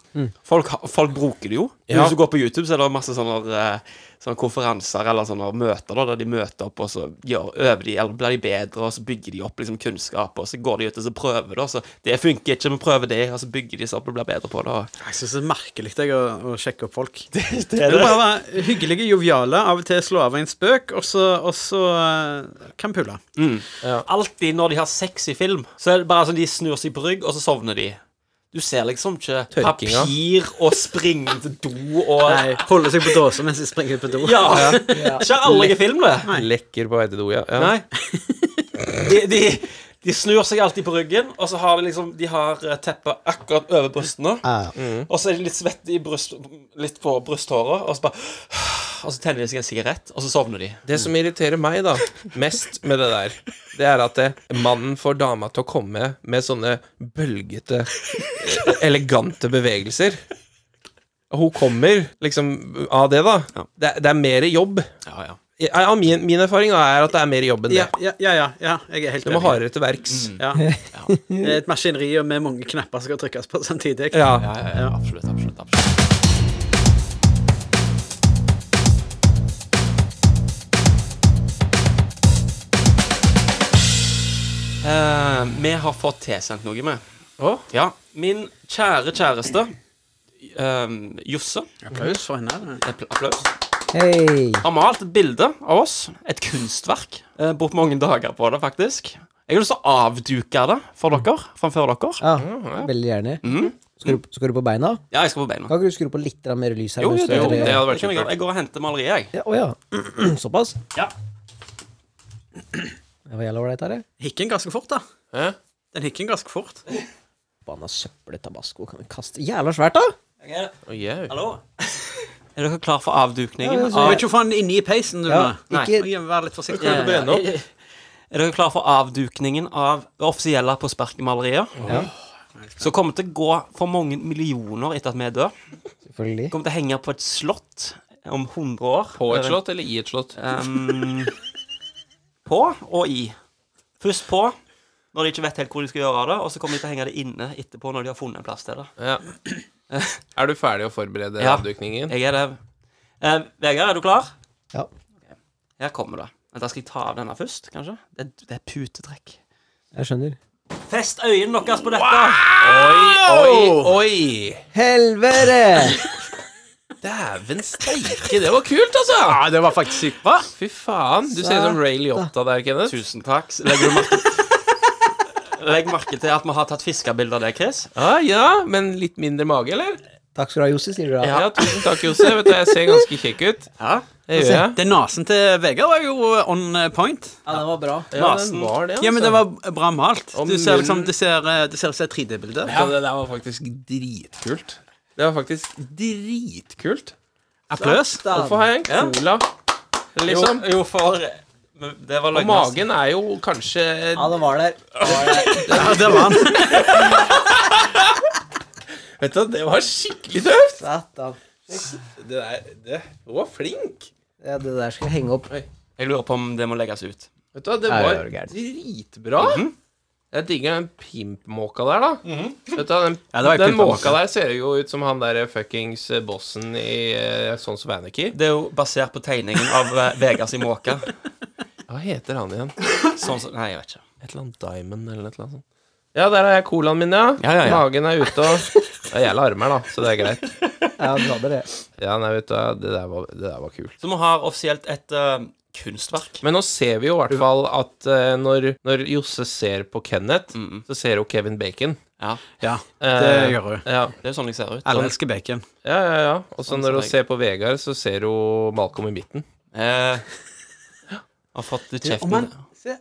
Speaker 3: Folk, ha- folk bruker det jo. Hvis du går på YouTube, så er det masse sånne, eh, sånne konferanser eller sånne møter da, der de møter opp, og så gjør, øver de, eller blir de bedre, og så bygger de opp liksom, kunnskap, og så går de ut og så prøver, da. Så det funker ikke, vi prøver det, og så bygger de seg opp og blir bedre på det. og-
Speaker 2: Jeg syns det er merkelig jeg, å, å sjekke opp
Speaker 5: <laughs>
Speaker 2: folk. Det, er det. Bare være hyggelige, joviale, av og til slå av en spøk, og så, og så eh, kan pule.
Speaker 3: Alltid når de har sex i film, så er det bare sånn de snur seg på rygg, og så sovner de. Du ser liksom ikke
Speaker 5: Tørkinga.
Speaker 3: papir og springe til do og
Speaker 2: Nei, holde seg på dåsa mens jeg springer ut på do.
Speaker 3: Ja! Ikke alle film, det.
Speaker 5: Lekker på vei til do, ja. ja.
Speaker 3: Nei. De, de, de snur seg alltid på ryggen, og så har de liksom De har eh, teppet akkurat over brystene.
Speaker 4: Ja.
Speaker 3: Og så er de litt svette i bryst, litt på brysthåret, og så bare Og så tenner de seg en sigarett, og så sovner de.
Speaker 5: Det som irriterer meg da mest med det der, det er at det, mannen får dama til å komme med sånne bølgete, eh, elegante bevegelser. Og Hun kommer liksom av det, da. Det, er- det er mer jobb.
Speaker 3: Ja, ja.
Speaker 5: Ja, ja, min, min erfaring da er at det er mer jobb enn det.
Speaker 2: Ja, ja, ja, ja, ja, jeg er helt
Speaker 5: Det må hardere til verks.
Speaker 3: Mm.
Speaker 2: Ja. Det er et maskineri med mange knapper som skal trykkes på samtidig.
Speaker 5: Ja.
Speaker 3: Ja, ja, ja, absolutt, absolutt, absolutt. Eh, vi har fått tilsendt noe med. Ja, min kjære kjæreste, eh, Josse
Speaker 2: Applaus for henne.
Speaker 3: Appla- Applaus.
Speaker 4: Hei.
Speaker 3: Har malt et bilde av oss. Et kunstverk. Eh, brukt mange dager på det, faktisk. Jeg har lyst til å avduke det for dere. Framfor dere.
Speaker 4: Ja, Ah, veldig gjerne.
Speaker 3: Mhm.
Speaker 4: Skal, du, skal du på beina?
Speaker 3: Ja, jeg skal på beina.
Speaker 4: Kan ikke du skru på litt grann mer lys her?
Speaker 3: Jo, jo,
Speaker 4: mens du
Speaker 3: det, jo,
Speaker 4: er-
Speaker 3: det hadde vært kjempefint. Jeg går og henter maleriet, jeg.
Speaker 4: Å ja. <clears throat> Såpass?
Speaker 3: Ja.
Speaker 4: Det var jævla ålreit her, det.
Speaker 2: Hikken ganske fort, da. Den hikken ganske fort.
Speaker 4: Banna søppeltabasco kan vi kaste Jævla svært, da!
Speaker 3: Hallo? Er dere klar for avdukning?
Speaker 2: Jeg
Speaker 3: av-
Speaker 2: vet ikke hvorfor han er inne i peisen, du.
Speaker 4: Ja,
Speaker 2: nå.
Speaker 4: ikke-
Speaker 2: Må gjerne Vær litt forsiktig.
Speaker 3: Ja, ja, ja. Er dere klare for avdukningen av det offisielle på sparkemaleriet?
Speaker 4: Ja.
Speaker 3: Som kommer til å gå for mange millioner etter at vi er døde.
Speaker 4: Selvfølgelig.
Speaker 3: Kommer til å henge på et slott om 100 år.
Speaker 5: På et slott eller i et slott?
Speaker 3: Um, på og i. Først på når de ikke vet helt hvor de skal gjøre av det, og så kommer de til å henge det inne etterpå når de har funnet en plass til det.
Speaker 5: Ja. <clears throat> Er du ferdig å forberede
Speaker 3: Ja.
Speaker 5: avdukningen?
Speaker 3: Jeg er det. Eh, Vegard, er du klar?
Speaker 4: Ja.
Speaker 3: Ok. Her kommer det. Vent, Da skal jeg ta av denne først, kanskje? Det, det er putetrekk.
Speaker 4: Jeg skjønner.
Speaker 3: Fest øynene deres på dette!
Speaker 5: Oi, oi!
Speaker 4: Helvete!
Speaker 5: Dæven steike, det var kult, altså! Ja, det var faktisk sykt bra. Fy faen. Du ser ut som Ray Liotta der, Kenneth.
Speaker 3: Tusen takk. Legger du merke Legg merke til at vi har tatt fiskebilder av deg, Chris.
Speaker 5: Ja, ja, men litt mindre mage, eller?
Speaker 4: Takk skal du ha, Jossi, sier du da.
Speaker 5: Ja, tusen takk, Jose. Vet du, jeg ser ganske kjekk ut.
Speaker 3: Ja.
Speaker 5: Det gjør jeg.
Speaker 2: Den nesen til Vegard var jo eh, on point.
Speaker 4: Ja, det var bra.
Speaker 5: Ja, den var det, altså.
Speaker 2: Ja, men det var bra malt.
Speaker 5: Og
Speaker 2: Du ser liksom
Speaker 5: munnen-
Speaker 2: Du ser eh, du ser ut som et 3D-bilde.
Speaker 5: Ja, det der var faktisk dritkult. Det var faktisk dritkult.
Speaker 2: Applaus.
Speaker 5: Hvorfor har jeg en cola?
Speaker 3: Jo,
Speaker 5: Liksom.
Speaker 3: jo, for men Det var
Speaker 5: Og
Speaker 3: løgnas.
Speaker 5: magen er jo kanskje
Speaker 4: Ja, det var der. Det var der.
Speaker 2: Ja, det var han.
Speaker 5: Vet du, det var skikkelig tøft!
Speaker 4: Satan.
Speaker 5: Det der, det, du var flink.
Speaker 4: Ja, det der skal jeg henge opp.
Speaker 3: Jeg lurer på om det må legges ut. Mhm.
Speaker 5: Vet du, hva, det
Speaker 4: Ja,
Speaker 5: var
Speaker 4: ja, det er gærent.
Speaker 5: dritbra. Jeg digger den pimpmåka der, da. Vet du, hva, den,
Speaker 2: Mhm. Ja, det var ikke
Speaker 5: den måka
Speaker 2: pimpmåka.
Speaker 5: der ser jo ut som han der fuckings eh, bossen i eh, Sons of Anarchy.
Speaker 3: Det er jo basert på tegningen av eh, Vegard sin måke.
Speaker 5: Hva heter han igjen?
Speaker 3: Sånn som Nei, jeg vet ikke.
Speaker 5: Et eller annet Diamond eller et eller annet sånt. Ja, der har jeg colaen min, ja.
Speaker 3: Ja, ja, ja.
Speaker 5: Magen er ute og Det er jævla armer, da, så det er greit.
Speaker 4: Ja, du hadde det.
Speaker 5: Ja, nei, vet du, hva, det der var, det der var kult.
Speaker 3: Så vi har offisielt et eh, kunstverk.
Speaker 5: Men nå ser vi jo i hvert fall at eh, når, når Josse ser på Kenneth,
Speaker 3: Mm.
Speaker 5: så ser hun Kevin Bacon.
Speaker 3: Ja,
Speaker 2: Ja, Mm. det
Speaker 5: Eh,
Speaker 2: gjør hun.
Speaker 5: Ja,
Speaker 3: Det er jo sånn jeg ser ut.
Speaker 2: Alle elsker bacon.
Speaker 5: ja, ja. ja. Og så
Speaker 3: Sånn
Speaker 5: når
Speaker 3: ser
Speaker 5: hun
Speaker 3: jeg.
Speaker 5: ser på Vegard, så ser hun Malcolm i midten.
Speaker 3: Eh, har fått litt kjeft
Speaker 2: Om han- se,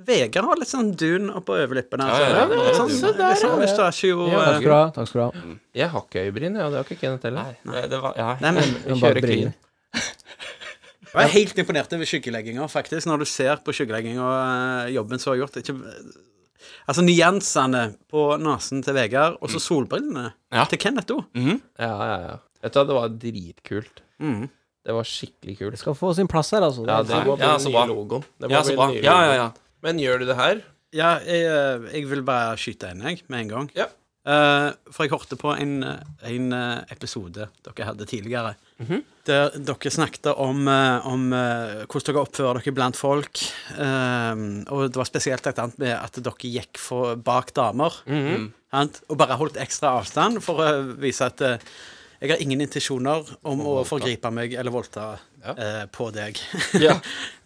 Speaker 2: Vegard har litt sånn dun oppå overlippene.
Speaker 3: Ja, ja, ja, det er
Speaker 2: Sånn,
Speaker 3: dun.
Speaker 2: sånn, litt sånn mustachio
Speaker 4: Takk
Speaker 2: eh,
Speaker 4: skal du ha. Takk skal du ha.
Speaker 5: Jeg har ikke øyebryn, ja, det har ikke Kenneth heller.
Speaker 3: Nei, Eh, det var, ja.
Speaker 2: Nei, men
Speaker 5: Jeg
Speaker 4: Men
Speaker 5: kjører
Speaker 4: bare briller.
Speaker 5: clean.
Speaker 2: Jeg er helt imponert over skyggelegginga, faktisk, når du ser på skyggelegginga og jobben som er gjort. Ikke, altså nyansene på nesen til Vegard, og så solbrillene
Speaker 3: Ja.
Speaker 2: til Kenneth òg.
Speaker 5: Ja, ja, ja. Vet du hva, det var dritkult.
Speaker 3: Mm.
Speaker 5: Det var skikkelig kult.
Speaker 4: Skal få sin plass her, altså.
Speaker 5: Ja, det
Speaker 3: Nei,
Speaker 5: må bli
Speaker 3: ja,
Speaker 5: den
Speaker 3: så
Speaker 5: nye
Speaker 3: bra.
Speaker 5: logoen. Det må
Speaker 3: ja,
Speaker 5: bli
Speaker 3: så
Speaker 5: den
Speaker 3: bra. Ja,
Speaker 5: nye
Speaker 3: ja,
Speaker 5: logoen.
Speaker 3: ja.
Speaker 5: Men gjør du
Speaker 3: <laughs>
Speaker 5: det her?
Speaker 2: Ja, jeg, eh, jeg vil bare skyte inn, jeg, med en gang.
Speaker 5: Ja.
Speaker 2: Eh, for jeg hørte på en, eh, en eh, episode dere hadde tidligere, der dere snakket om, eh, om eh, hvordan dere oppfører dere blant folk. eh, og det var spesielt et annet med at dere gikk for, bak damer. sant? Og bare holdt ekstra avstand for å vise at eh, jeg har ingen intensjoner om å forgripe meg eller voldta eh, på deg.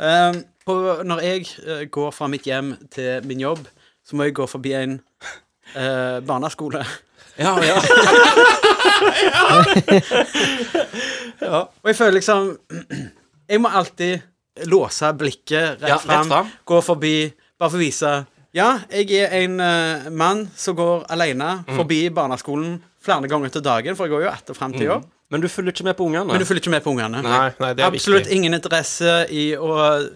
Speaker 2: Um, på, når jeg eh, går fra mitt hjem til min jobb, så må jeg gå forbi en eh, barneskole.
Speaker 3: ja, ja.
Speaker 2: Og jeg føler liksom <clears throat> Jeg må alltid låse blikket rett
Speaker 3: Ja, rett
Speaker 2: fram,
Speaker 3: fram.
Speaker 2: gå forbi, bare for å vise Ja, jeg er en eh, mann som går alene
Speaker 3: Mm.
Speaker 2: forbi barneskolen flere ganger til dagen, for jeg går jo etter fram
Speaker 3: Mm.
Speaker 2: til jobb.
Speaker 3: Men du følger ikke med på ungene?
Speaker 2: Men du følger ikke med på ungene.
Speaker 5: Nei, nei, det er
Speaker 2: Absolutt
Speaker 5: viktig.
Speaker 2: ingen interesse i å,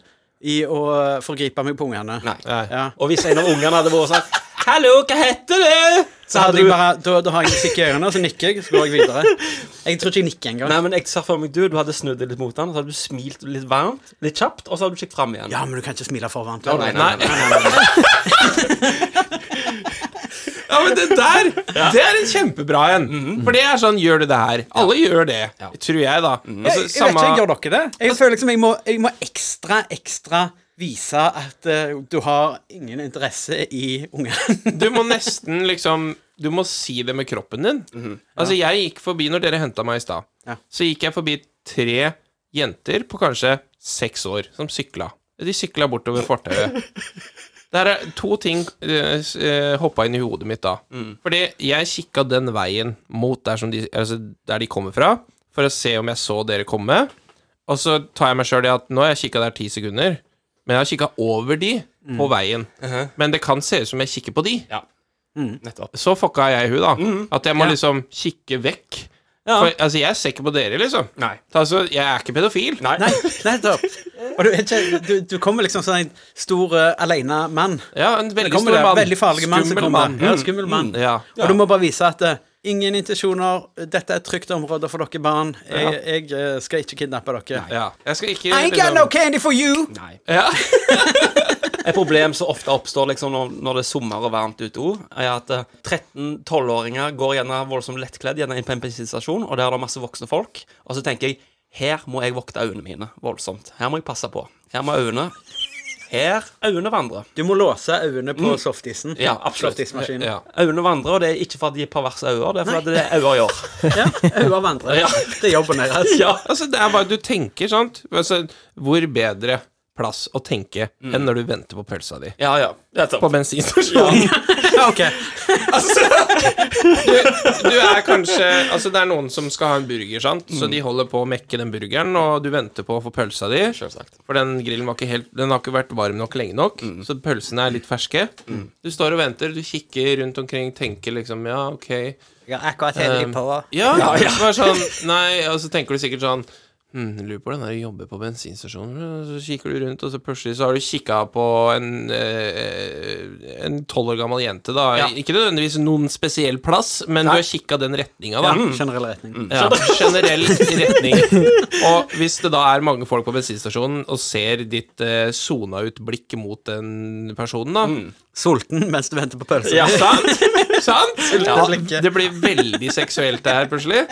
Speaker 2: i å eh, forgripe meg på ungene.
Speaker 3: Nei.
Speaker 5: Nei.
Speaker 2: Ja.
Speaker 3: Og hvis en av ungene hadde vært sånn Hallo, hva heter du?
Speaker 2: Så hadde jeg bare, da, da har jeg musikk i ørene, og så nikker jeg, så går jeg videre. Jeg tror ikke jeg nikker engang.
Speaker 3: Nei, men jeg ser for meg du, du hadde snudd deg litt mot han, så hadde du smilt litt varmt, litt kjapt, og så hadde du kikket fram igjen.
Speaker 2: Ja, men du kan ikke smile for varmt.
Speaker 3: Nei, nei, nei, nei, nei, nei.
Speaker 5: Ja, men det der, det er en kjempebra en.
Speaker 3: Mhm.
Speaker 5: For det er sånn, gjør du det her? Alle gjør det, tror jeg, da. Altså,
Speaker 3: Mhm.
Speaker 2: Jeg, jeg vet ikke, jeg gjør dere det? Jeg føler liksom jeg må, jeg må ekstra, ekstra vise at eh, du har ingen interesse i ungen. <laughs>
Speaker 5: Du må nesten liksom Du må si det med kroppen din. Altså, jeg gikk forbi når dere henta meg i stad. Så gikk jeg forbi tre jenter på kanskje seks år som sykla. De sykla bortover fortauet. Der er to ting uh, hoppa inn i hodet mitt da. Fordi jeg kikka den veien mot der, som de, altså der de kommer fra, for å se om jeg så dere komme. Og så tar jeg meg sjøl i at nå har jeg kikka der ti sekunder, men jeg har kikka over de på veien. Men det kan se ut som jeg kikker på de. Så fucka jeg hun, da. At jeg må
Speaker 3: Ja.
Speaker 5: liksom kikke vekk.
Speaker 3: Ja.
Speaker 5: For altså, jeg ser ikke på dere, liksom. Altså, jeg er ikke pedofil.
Speaker 2: Nei, nettopp. Og du, er ikke, du, du kommer liksom som en stor uh, aleine mann.
Speaker 5: Ja, en
Speaker 2: Det
Speaker 5: veldig
Speaker 2: kommer
Speaker 5: stor
Speaker 2: det,
Speaker 5: mann.
Speaker 2: Veldig farlig mann som
Speaker 5: Skummel
Speaker 2: kommer.
Speaker 5: mann.
Speaker 2: Ja,
Speaker 5: Mm.
Speaker 2: skummel mann.
Speaker 5: Mm, ja.
Speaker 2: Og du må bare vise at eh, ingen intensjoner, dette er et trygt område for dere barn, jeg, jeg eh, skal ikke kidnappe dere.
Speaker 5: Ja. Jeg skal ikke
Speaker 2: I ain't got no candy for you!
Speaker 5: Ja.
Speaker 3: <laughs> Et problem som ofte oppstår liksom når, når det er sommer og varmt ute òg, er at eh, 13-12-åringer går gjerne voldsomt lettkledd gjerne inn på en bensinstasjon, og der er det masse voksne folk. Og så tenker jeg her må jeg vokte øynene mine voldsomt. Her må jeg passe på. Her må øynene Her øynene vandrer.
Speaker 2: Du må låse øynene på softisen.
Speaker 3: Ja, absolutt.
Speaker 2: Softismaskinen.
Speaker 5: Ja.
Speaker 3: Øynene vandrer, og det er ikke fordi de er perverse øyne, det er fordi det er øyne gjør.
Speaker 2: Ja, <laughs> Øynene vandrer.
Speaker 3: Ja.
Speaker 2: Det er jobben deres.
Speaker 3: Ja.
Speaker 5: Altså, det er bare du tenker, sant. Altså, hvor bedre plass å tenke enn når du venter på pølsa di
Speaker 3: Ja, ja. Nettopp.
Speaker 5: på <laughs> bensinstasjonen.
Speaker 2: Ja, ok.
Speaker 5: Du er kanskje Altså, det er noen som skal ha en burger, sant, så de holder på å mekke den burgeren, og du venter på å få pølsa di.
Speaker 3: Selvsagt.
Speaker 5: For den grillen var ikke helt Den har ikke vært varm nok lenge nok, så pølsene er litt ferske. Du står og venter, du kikker rundt omkring, tenker liksom Ja, ok.
Speaker 4: Jeg er akkurat heldig på
Speaker 5: Ja, Bare sånn, nei, og så tenker du sikkert sånn hm, jeg Lurer på hvordan det er å jobbe på bensinstasjonen. Og så kikker du rundt, og så plutselig så har du kikka på en eh, En tolv år gammel jente, da.
Speaker 3: Ja.
Speaker 5: Ikke nødvendigvis noen spesiell plass, men du har kikka den retninga, da.
Speaker 2: Generell retning.
Speaker 5: Ja, <laughs> generell retning. Og hvis det da er mange folk på bensinstasjonen og ser ditt eh, sona ut blikk mot den personen, da
Speaker 2: Sulten mens du venter på pølse.
Speaker 3: Ja.
Speaker 5: Sant? Sant?
Speaker 2: Ja.
Speaker 5: Ja, det blir veldig seksuelt, det her, plutselig.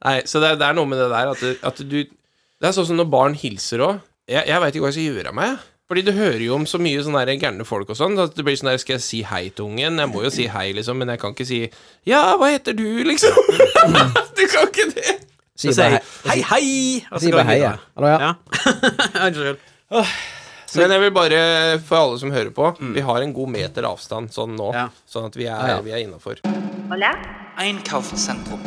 Speaker 5: Nei, Så det, er- det er noe med det der at, du- at du Det er sånn som når barn hilser òg. Jeg, jeg veit ikke hva jeg skal gjøre av meg. Fordi du hører jo om så mye sånne der gærne folk og sånn. At det blir sånn der Skal jeg si hei til ungen? Jeg må jo si hei, liksom, men jeg kan ikke si Ja, hva heter du, liksom? <laughs> du kan ikke det.
Speaker 2: Så
Speaker 4: Sier
Speaker 2: sier
Speaker 4: bare
Speaker 2: jeg hei, hei! og så
Speaker 4: sier
Speaker 2: går
Speaker 4: bare
Speaker 2: jeg
Speaker 4: hei, ja.
Speaker 2: videre.
Speaker 4: Hallo,
Speaker 3: <laughs>
Speaker 4: ja.
Speaker 2: Ja. Unnskyld.
Speaker 5: Men jeg vil bare, for alle som hører på, vi har en god meter avstand sånn nå.
Speaker 2: Ja.
Speaker 5: Sånn at vi
Speaker 4: Mm. ja.
Speaker 5: er, vi er innafor.
Speaker 11: Einkaufszentrum.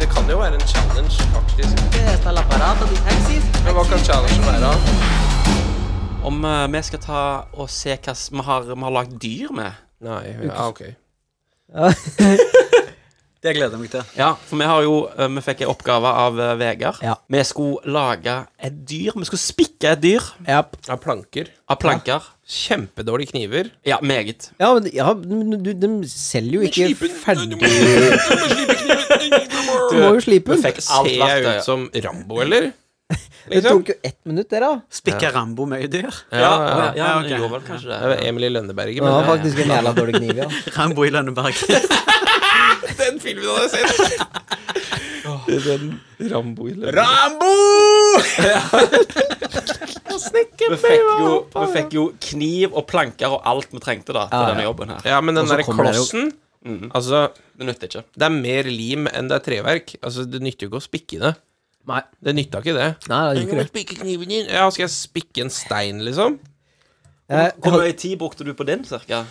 Speaker 5: Det kan jo være en challenge, faktisk. Men hva kan challengen være? da?
Speaker 3: Om eh, vi skal ta og se hva s- vi har, vi har lagd dyr med.
Speaker 5: Nei, ja, ok.
Speaker 2: Det gleder jeg meg til.
Speaker 3: Ja, for vi har jo eh, Vi fikk en oppgave av eh, Vegard.
Speaker 4: Ja.
Speaker 3: Vi skulle lage et dyr. Vi skulle spikke et dyr
Speaker 4: <laughs> Ja.
Speaker 5: Ja, planker.
Speaker 3: av planker.
Speaker 5: Kjempedårlige kniver.
Speaker 3: Ja, meget.
Speaker 4: ja, men ja, men du, de selger jo ikke ferdig Du må jo slipe
Speaker 3: Vi
Speaker 4: den.
Speaker 3: fikk
Speaker 5: Ser
Speaker 3: alt
Speaker 5: jeg ut
Speaker 3: verktøyet.
Speaker 5: som Rambo, eller?
Speaker 4: <laughs>
Speaker 5: Liksom?
Speaker 4: Det tok jo ett minutt, det, da.
Speaker 2: Spikke Rambo med dyr.
Speaker 3: Ja, ja, ja,
Speaker 2: ja,
Speaker 3: vi
Speaker 2: ok.
Speaker 3: gjorde vel kanskje
Speaker 5: Det
Speaker 3: det.
Speaker 5: var Emily
Speaker 4: Det
Speaker 5: Lønneberget,
Speaker 4: var
Speaker 5: men
Speaker 4: faktisk en jævla dårlig kniv, ja.
Speaker 2: Rambo i Lønneberg.
Speaker 5: Den filmen hadde jeg sett!
Speaker 3: Rambo i
Speaker 5: Rambo!
Speaker 3: Vi fikk, jo, vi fikk jo kniv og planker og alt vi trengte da til
Speaker 4: Ja, ja.
Speaker 3: denne jobben her.
Speaker 5: Ja, men den
Speaker 4: Og så
Speaker 5: der
Speaker 4: kommer det jo-
Speaker 5: klossen Altså,
Speaker 3: Det nytter ikke.
Speaker 5: det er mer lim enn det er treverk. Altså, det nytter jo ikke å spikke det.
Speaker 4: Nei.
Speaker 5: Det nytta ikke det.
Speaker 4: <laughs> Nei, det er
Speaker 5: Jeg
Speaker 4: ikke
Speaker 5: må
Speaker 4: det.
Speaker 5: spikke kniven din. Ja, skal jeg spikke en stein, liksom?
Speaker 4: Jeg,
Speaker 3: Hvor
Speaker 4: hadde-
Speaker 3: mye tid brukte du på din, cirka?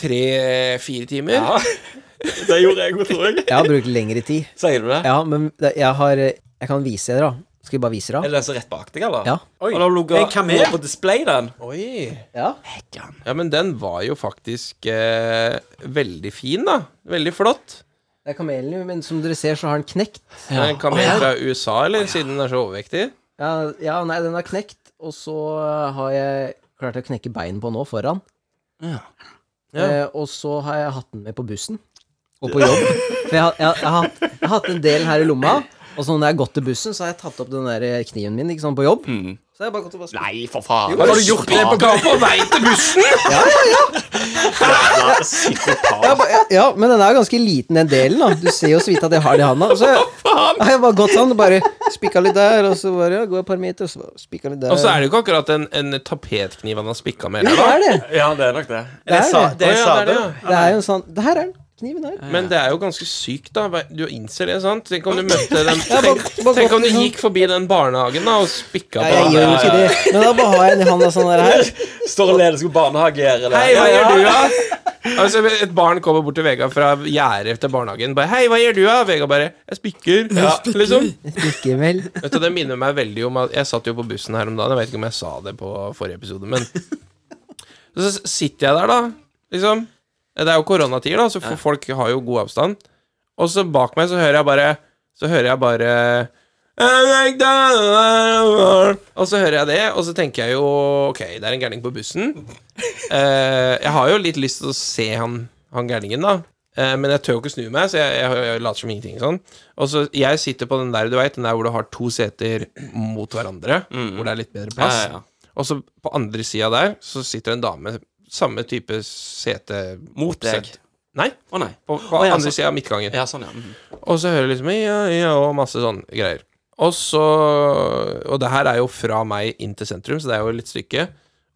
Speaker 5: Tre-fire timer?
Speaker 3: Ja. <laughs> Det gjorde jeg òg, tror jeg.
Speaker 4: jeg har brukt lengre tid.
Speaker 3: Sier du det?
Speaker 4: Ja, men det, jeg har eh, Jeg kan vise dere, da. Skal vi bare vise
Speaker 3: Er
Speaker 4: dere?
Speaker 3: det den som er rett bak deg, eller?
Speaker 4: Ja.
Speaker 3: Og da lå
Speaker 2: En kamel?
Speaker 3: lå på display, den.
Speaker 5: Oi.
Speaker 4: Ja.
Speaker 5: Ja, men den var jo faktisk eh, veldig fin, da. Veldig flott.
Speaker 4: Det er kamelen, jo, men som dere ser, så har den knekt.
Speaker 5: Ja. En kamel fra USA, eller? Siden den er så overvektig.
Speaker 4: Ja, ja nei, den har knekt, og så har jeg klart å knekke bein på nå foran.
Speaker 5: Ja.
Speaker 4: Eh, og så har jeg hatt den med på bussen og på jobb. For jeg, har- jeg, har- jeg, har hatt- jeg
Speaker 5: Mm.
Speaker 4: har hatt en del her i lomma, og så når jeg har gått til bussen, så har jeg tatt opp den der kniven min eh, ikke sant, på jobb. Så Så jeg bare gått og vasket.
Speaker 3: Nei, for faen.
Speaker 5: Har du gjort det på gang på vei til bussen?
Speaker 4: Ja, ja, ja. Ja, ba- ja, ja, men den er jo ganske liten, den delen. da Du ser jo så vidt at jeg har det i handa. Og så har jeg bare gått sånn, bare spikka litt der, og så bare ja, går jeg et par meter, og så bare spikka litt der.
Speaker 5: Og så er det jo ikke akkurat en, en tapetkniv han har spikka med.
Speaker 4: Jo, det
Speaker 5: eller?
Speaker 4: er det.
Speaker 3: Ja, det er nok det.
Speaker 4: Det er
Speaker 2: Det er
Speaker 4: det.
Speaker 5: Å, ja, det er det, ja.
Speaker 2: sade.
Speaker 4: Det er jo en sånn Det her er den. Kniven her.
Speaker 5: Men det er jo ganske sykt, da. Hva- Du innser det, sant? Tenk om du
Speaker 4: <laughs>
Speaker 5: møtte den
Speaker 4: Ja, bare-
Speaker 5: Tenk,
Speaker 4: bare
Speaker 5: tenk om
Speaker 4: gått
Speaker 5: du
Speaker 4: litt sånn.
Speaker 5: gikk forbi den barnehagen da og spikka
Speaker 4: Nei,
Speaker 5: på
Speaker 4: jeg
Speaker 5: den.
Speaker 4: gjør jo ikke det. Men da bare har jeg den i handa sånn der her.
Speaker 3: Står og leder seg på barnehage her, eller?
Speaker 5: Hei, hva gjør du, da? Altså, et barn kommer bort til Vegard fra gjerdet til barnehagen. Bare, 'Hei, hva gjør du, da?' Vegard bare 'Jeg
Speaker 4: <laughs>
Speaker 5: spikker'. Ja, liksom.
Speaker 4: Ikke vel.
Speaker 5: Vet du, Det minner meg veldig om at Jeg satt jo på bussen her om dagen. Jeg vet ikke om jeg sa det på forrige
Speaker 4: <laughs>
Speaker 5: episode, men Så s- sitter jeg der, da. Liksom. Det er jo koronatider, da, så for folk har jo god avstand. Og så bak meg så hører jeg bare Så hører jeg bare og så hører jeg det, og så tenker jeg jo Ok, det er en gærning på bussen.
Speaker 3: <laughs>
Speaker 5: Eh, jeg har jo litt lyst til å se han, han gærningen, da. Eh, men jeg tør jo ikke snu meg, så jeg, jeg, jeg later som ingenting. sånn Og så Jeg sitter på den der du vet, den der hvor du har to seter mot hverandre, hvor det er litt bedre plass.
Speaker 3: Mm. Ja, ja, ja.
Speaker 5: Og så på andre sida der så sitter en dame, samme type sete
Speaker 3: Mot deg.
Speaker 5: set- Nei,
Speaker 3: Å nei.
Speaker 5: på, på
Speaker 3: Å, ja,
Speaker 5: andre
Speaker 3: så-
Speaker 5: sida av midtgangen.
Speaker 3: Ja, sånn, ja. Mhm.
Speaker 5: Og så hører du liksom ja, ja, og masse sånn greier. Og så Og det her er jo fra meg inn til sentrum, så det er jo litt stykke.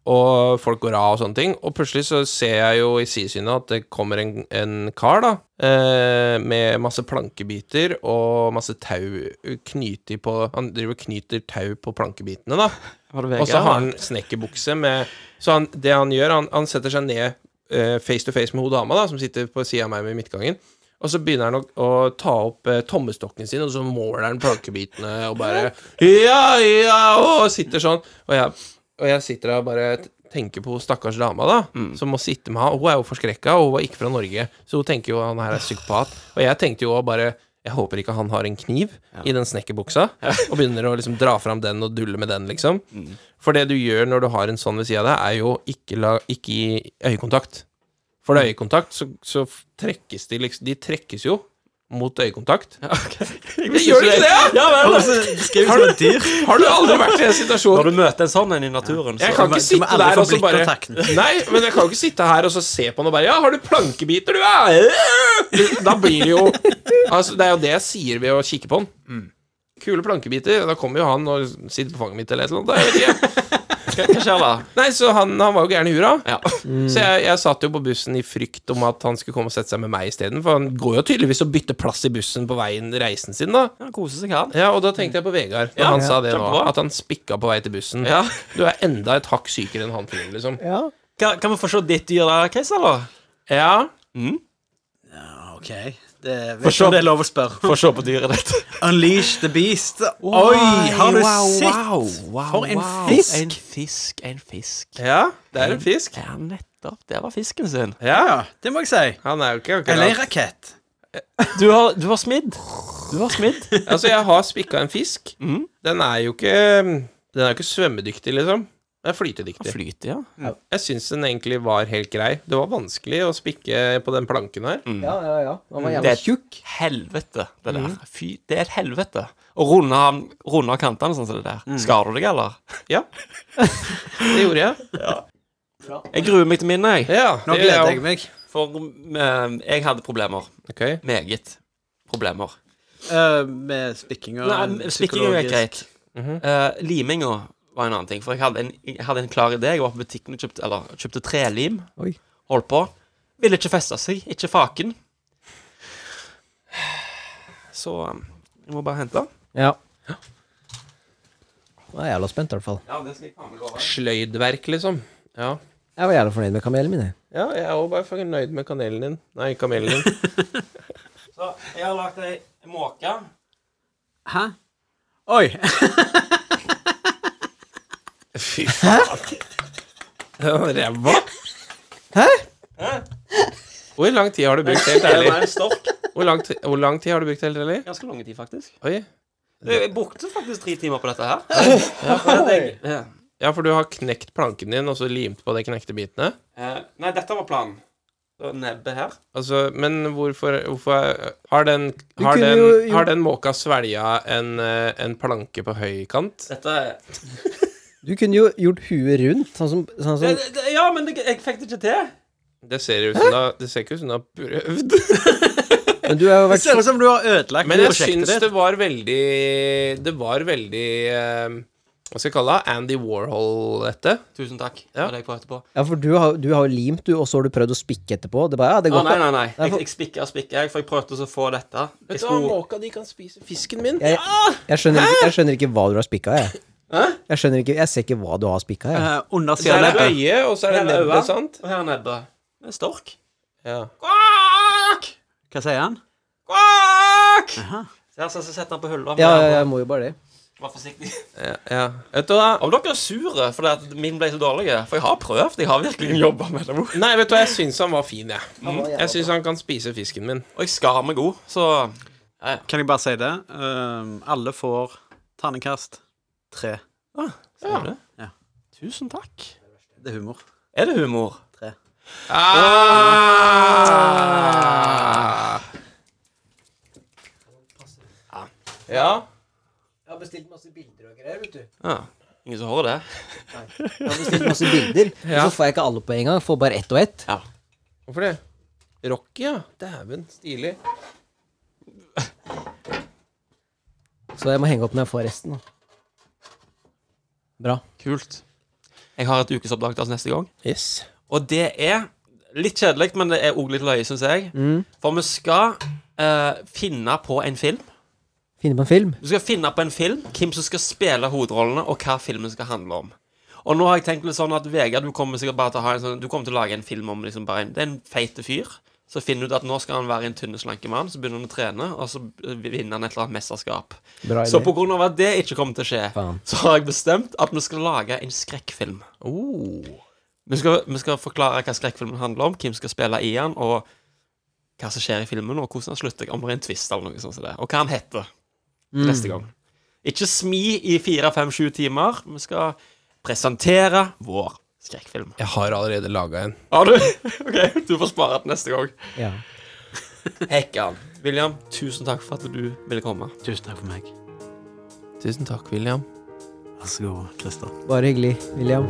Speaker 5: Og folk går av og sånne ting. Og plutselig så ser jeg jo i sidesynet at det kommer en, en kar, da. Eh, med masse plankebiter og masse tau knyter på Han driver og knyter tau på plankebitene, da.
Speaker 3: Var det
Speaker 5: Og så har han snekkerbukse med Så han, det han gjør, han, han setter seg ned eh, face to face med hun dama, da, som sitter på sida av meg med midtgangen. Og så begynner han å, å ta opp eh, tommestokken sin, og så måler han plankebitene og bare Ja, ja, og sitter sånn. Og jeg, og jeg sitter der og bare t- tenker på hun stakkars dama, da, som må sitte med han. Hun er jo forskrekka, og hun er ikke fra Norge, så hun tenker jo han her er psykopat. Og jeg tenkte jo bare jeg håper ikke han har en kniv i den snekkerbuksa <laughs> og begynner å liksom dra fram den og dulle med den, liksom. For det du gjør når du har en sånn ved sida av deg, er jo ikke, la, ikke gi øyekontakt. For det er øyekontakt, så, så f- trekkes de liksom De trekkes jo mot øyekontakt. Gjør du ikke det?
Speaker 3: Ja, vel.
Speaker 2: Skriv som et dyr.
Speaker 5: Har du aldri vært i en situasjon
Speaker 3: Når du møter en sånn en i naturen, så
Speaker 5: Jeg kan ikke
Speaker 2: du må
Speaker 5: sitte
Speaker 2: aldri
Speaker 5: der
Speaker 2: få
Speaker 5: og så bare
Speaker 2: blikkontakten.
Speaker 5: <laughs> Nei, men jeg kan jo ikke sitte her og så se på han og bare Ja, har du plankebiter, du, ja? Da blir det jo Altså, det er jo det jeg sier ved å kikke på han. Kule plankebiter. Da kommer jo han og sitter på fanget mitt eller et eller annet. da, Jeg vet ikke.
Speaker 3: Hva skjer da?
Speaker 5: Nei, så han, han var jo gæren i hura.
Speaker 3: Ja.
Speaker 5: <laughs> Så jeg, jeg satt jo på bussen i frykt om at han skulle komme og sette seg med meg isteden. For han går jo tydeligvis og bytter plass i bussen på veien reisen sin, da.
Speaker 3: Han koser seg, han.
Speaker 5: Ja, og da tenkte jeg på Vegard når
Speaker 3: Ja,
Speaker 5: han
Speaker 3: ja.
Speaker 5: sa det nå.
Speaker 3: Kjempebra.
Speaker 5: At han spikka på vei til bussen.
Speaker 3: Ja.
Speaker 5: Du er enda et hakk sykere enn han fyren, liksom.
Speaker 4: Ja.
Speaker 3: Kan, kan vi få se ditt dyr der, Chris, eller?
Speaker 5: Ja.
Speaker 2: Ok. Det vet ikke om det er lov å spørre.
Speaker 3: Få se på dyret ditt.
Speaker 2: Unleash the beast. Oi, har du sett? For en fisk.
Speaker 3: En fisk, en fisk.
Speaker 5: ja, det er en fisk.
Speaker 3: Ja, nettopp. Der var fisken sin.
Speaker 2: Ja, det må jeg si.
Speaker 5: Han er jo ikke
Speaker 2: Eller en
Speaker 5: akkurat
Speaker 2: rakett.
Speaker 3: Du har, du har smidd. Du har <laughs> smidd.
Speaker 5: Altså, jeg har spikka en fisk.
Speaker 3: Mm.
Speaker 5: Den er jo ikke Den er jo ikke svømmedyktig, liksom. Den er
Speaker 3: Han
Speaker 5: flytedyktig.
Speaker 3: flyter, ja.
Speaker 5: Jeg syns den egentlig var helt grei. Det var vanskelig å spikke på den planken her.
Speaker 4: ja, ja, ja.
Speaker 3: Mm.
Speaker 4: Han var
Speaker 3: Det
Speaker 4: jævla
Speaker 3: er-
Speaker 4: tjukk. Mm.
Speaker 3: Helvete, det der. Fy, det er et helvete. Å runde, han- runde av kantene sånn som det der.
Speaker 4: Mm.
Speaker 3: Skader du deg, eller?
Speaker 5: Ja. Det gjorde jeg.
Speaker 3: Jeg gruer meg til min, jeg.
Speaker 5: Ja,
Speaker 2: Nå
Speaker 5: det gjør
Speaker 2: gleder jeg
Speaker 5: også.
Speaker 2: meg.
Speaker 3: For eh, jeg hadde problemer.
Speaker 5: Ok.
Speaker 3: Meget problemer.
Speaker 2: Eh, med spikking og
Speaker 3: Nei, spikking er jo greit.
Speaker 4: Mhm.
Speaker 3: Eh, liminga var en annen ting. For jeg hadde en, jeg hadde en klar idé. Jeg var på butikken og kjøpte, eller, kjøpte trelim.
Speaker 4: Oi.
Speaker 3: Holdt på. Ville ikke feste seg. Ikke faken. Så eh, jeg må bare hente.
Speaker 4: Ja. Jeg er jævla spent, i hvert fall.
Speaker 3: Ja, det skal jeg faen meg love.
Speaker 5: Sløydverk, liksom. Ja.
Speaker 4: Jeg var jævla fornøyd med kamelen min, jeg.
Speaker 5: Ja, jeg er òg bare fornøyd med kanelen din. Nei, kamelen din.
Speaker 3: Så jeg har lagd ei måke.
Speaker 2: Hæ? Oi.
Speaker 5: Fy faen. <laughs> Det var Ræva.
Speaker 4: Hæ?
Speaker 5: <laughs> Hvor lang tid har du brukt, <laughs> helt
Speaker 3: Det
Speaker 5: ærlig?
Speaker 3: var en stork.
Speaker 5: Hvor lang, ti- hvor lang tid har du brukt, helt ærlig?
Speaker 3: Ganske lang tid, faktisk.
Speaker 5: Oi.
Speaker 3: Jeg brukte faktisk tre timer på dette her. Ja, for det, jeg, ja.
Speaker 5: Ja, for du har knekt planken din, og så limt på de knekte bitene.
Speaker 3: Eh, Nei, dette var planen. Det var Nebbet her.
Speaker 5: Altså, men hvorfor, hvorfor er- Har den,
Speaker 4: Du
Speaker 5: har
Speaker 4: kunne
Speaker 5: den,
Speaker 4: jo gjort-
Speaker 5: har den måka svelga en, eh, en planke på høykant?
Speaker 3: Dette er
Speaker 4: Du kunne jo gjort huet rundt, sånn som, sånn som
Speaker 3: Det- det- Ja, men det, jeg fikk det ikke til.
Speaker 5: Det ser ut som du har- det ser ikke ut som du har prøvd.
Speaker 4: Men du har jo
Speaker 2: Det ser ut som du har ødelagt
Speaker 5: Men jeg
Speaker 2: prosjektet
Speaker 5: syns
Speaker 2: ditt.
Speaker 5: det var veldig Det var veldig eh, Hva skal jeg kalle det? Andy Warhol, dette.
Speaker 3: Tusen takk. Det
Speaker 5: Ja.
Speaker 3: var det jeg prøvde på.
Speaker 4: Ja, for du har du har jo limt, du, og så har du prøvd å spikke etterpå. Det bare, ja, det
Speaker 3: Å,
Speaker 4: går
Speaker 3: nei,
Speaker 4: ikke.
Speaker 3: nei, nei.
Speaker 4: Nei,
Speaker 3: Jeg,
Speaker 4: for-
Speaker 3: jeg spikker og spikker, jeg, for jeg prøvde å få dette. Jeg
Speaker 5: Vet du hva,
Speaker 3: skulle...
Speaker 5: måka di kan spise fisken min.
Speaker 4: Jeg, jeg, skjønner ikke, jeg skjønner ikke hva du har spikka, jeg.
Speaker 3: Hæ?
Speaker 4: Jeg skjønner ikke, jeg ser ikke hva du har spikka, jeg.
Speaker 2: Eh, under
Speaker 5: Så er det
Speaker 2: sida.
Speaker 5: øyet, og så er det
Speaker 3: Her er øya,
Speaker 5: nebbet, sant?
Speaker 3: Og her er nebbet. Det er en stork.
Speaker 5: Ja.
Speaker 3: Kvakk!
Speaker 2: Hva sier han?
Speaker 3: Kvakk!
Speaker 2: Aha.
Speaker 3: Så her så setter han på hullet.
Speaker 4: Ja, ja, jeg må jo bare det.
Speaker 3: Vær forsiktig.
Speaker 5: Ja, ja. Vet du hva?
Speaker 3: Om dere er sure fordi at min ble så dårlig, for jeg har prøvd, jeg har virkelig <laughs> jobbet med det.
Speaker 5: Nei, vet du hva, jeg syns han var fin, jeg.
Speaker 3: Mm.
Speaker 5: Jeg syns han kan spise fisken min.
Speaker 3: Og jeg skar meg god, så...
Speaker 2: Kan jeg bare si det? Um, alle får terningkast tre.
Speaker 3: Ja. du?
Speaker 2: Ja.
Speaker 3: Tusen takk.
Speaker 2: Det er humor.
Speaker 3: Er det humor?
Speaker 5: Ah! Ja.
Speaker 4: Jeg har bestilt masse bilder og greier, vet du.
Speaker 3: Ja. Ingen som hører det.
Speaker 4: Jeg har bestilt masse <laughs> bilder, og så får jeg ikke alle på en gang. Får bare ett og ett.
Speaker 5: Hvorfor det? Rocky, ja. Dæven, stilig.
Speaker 4: Så jeg må henge opp når jeg får resten. da. Bra.
Speaker 3: Kult. Jeg har et ukesoppdrag til oss neste gang.
Speaker 5: Yes.
Speaker 3: Og det er litt kjedelig, men det er òg litt løye, syns jeg.
Speaker 4: Mm.
Speaker 3: For vi skal eh, finne på en film.
Speaker 4: Finne på en film.
Speaker 3: Vi skal finne på en film, hvem som skal spille hovedrollene, og hva filmen skal handle om. Og nå har jeg tenkt litt sånn at Vegard, du kommer sikkert bare til å ha en sånn Du kommer til å lage en film om liksom bare en Det er en feit fyr. Så finner du ut at nå skal han være en tynne, slanke mann. Så begynner han å trene, og så vinner han et eller annet mesterskap.
Speaker 4: Bra idé.
Speaker 3: Så på grunn av at det ikke kommer til å skje,
Speaker 4: Faen.
Speaker 3: så har jeg bestemt at vi skal lage en skrekkfilm. Vi, skal, vi skal forklare hva skrekkfilmen handler om, hvem skal spille i den, og hva som skjer i filmen, og hvordan den slutter, om det er en twist eller noe sånt som det, og hva han heter neste gang. Ikke smi i fire, fem, sju timer. Vi skal presentere vår skrekkfilm.
Speaker 5: Jeg har allerede laga en.
Speaker 3: Har du? <laughs> Ok, du får spare den neste gang.
Speaker 4: Ja.
Speaker 3: Hekkan. William, tusen takk for at du ville komme.
Speaker 2: Tusen takk for meg.
Speaker 5: Tusen takk, William.
Speaker 2: Vær så god, Christer.
Speaker 4: Bare hyggelig, William.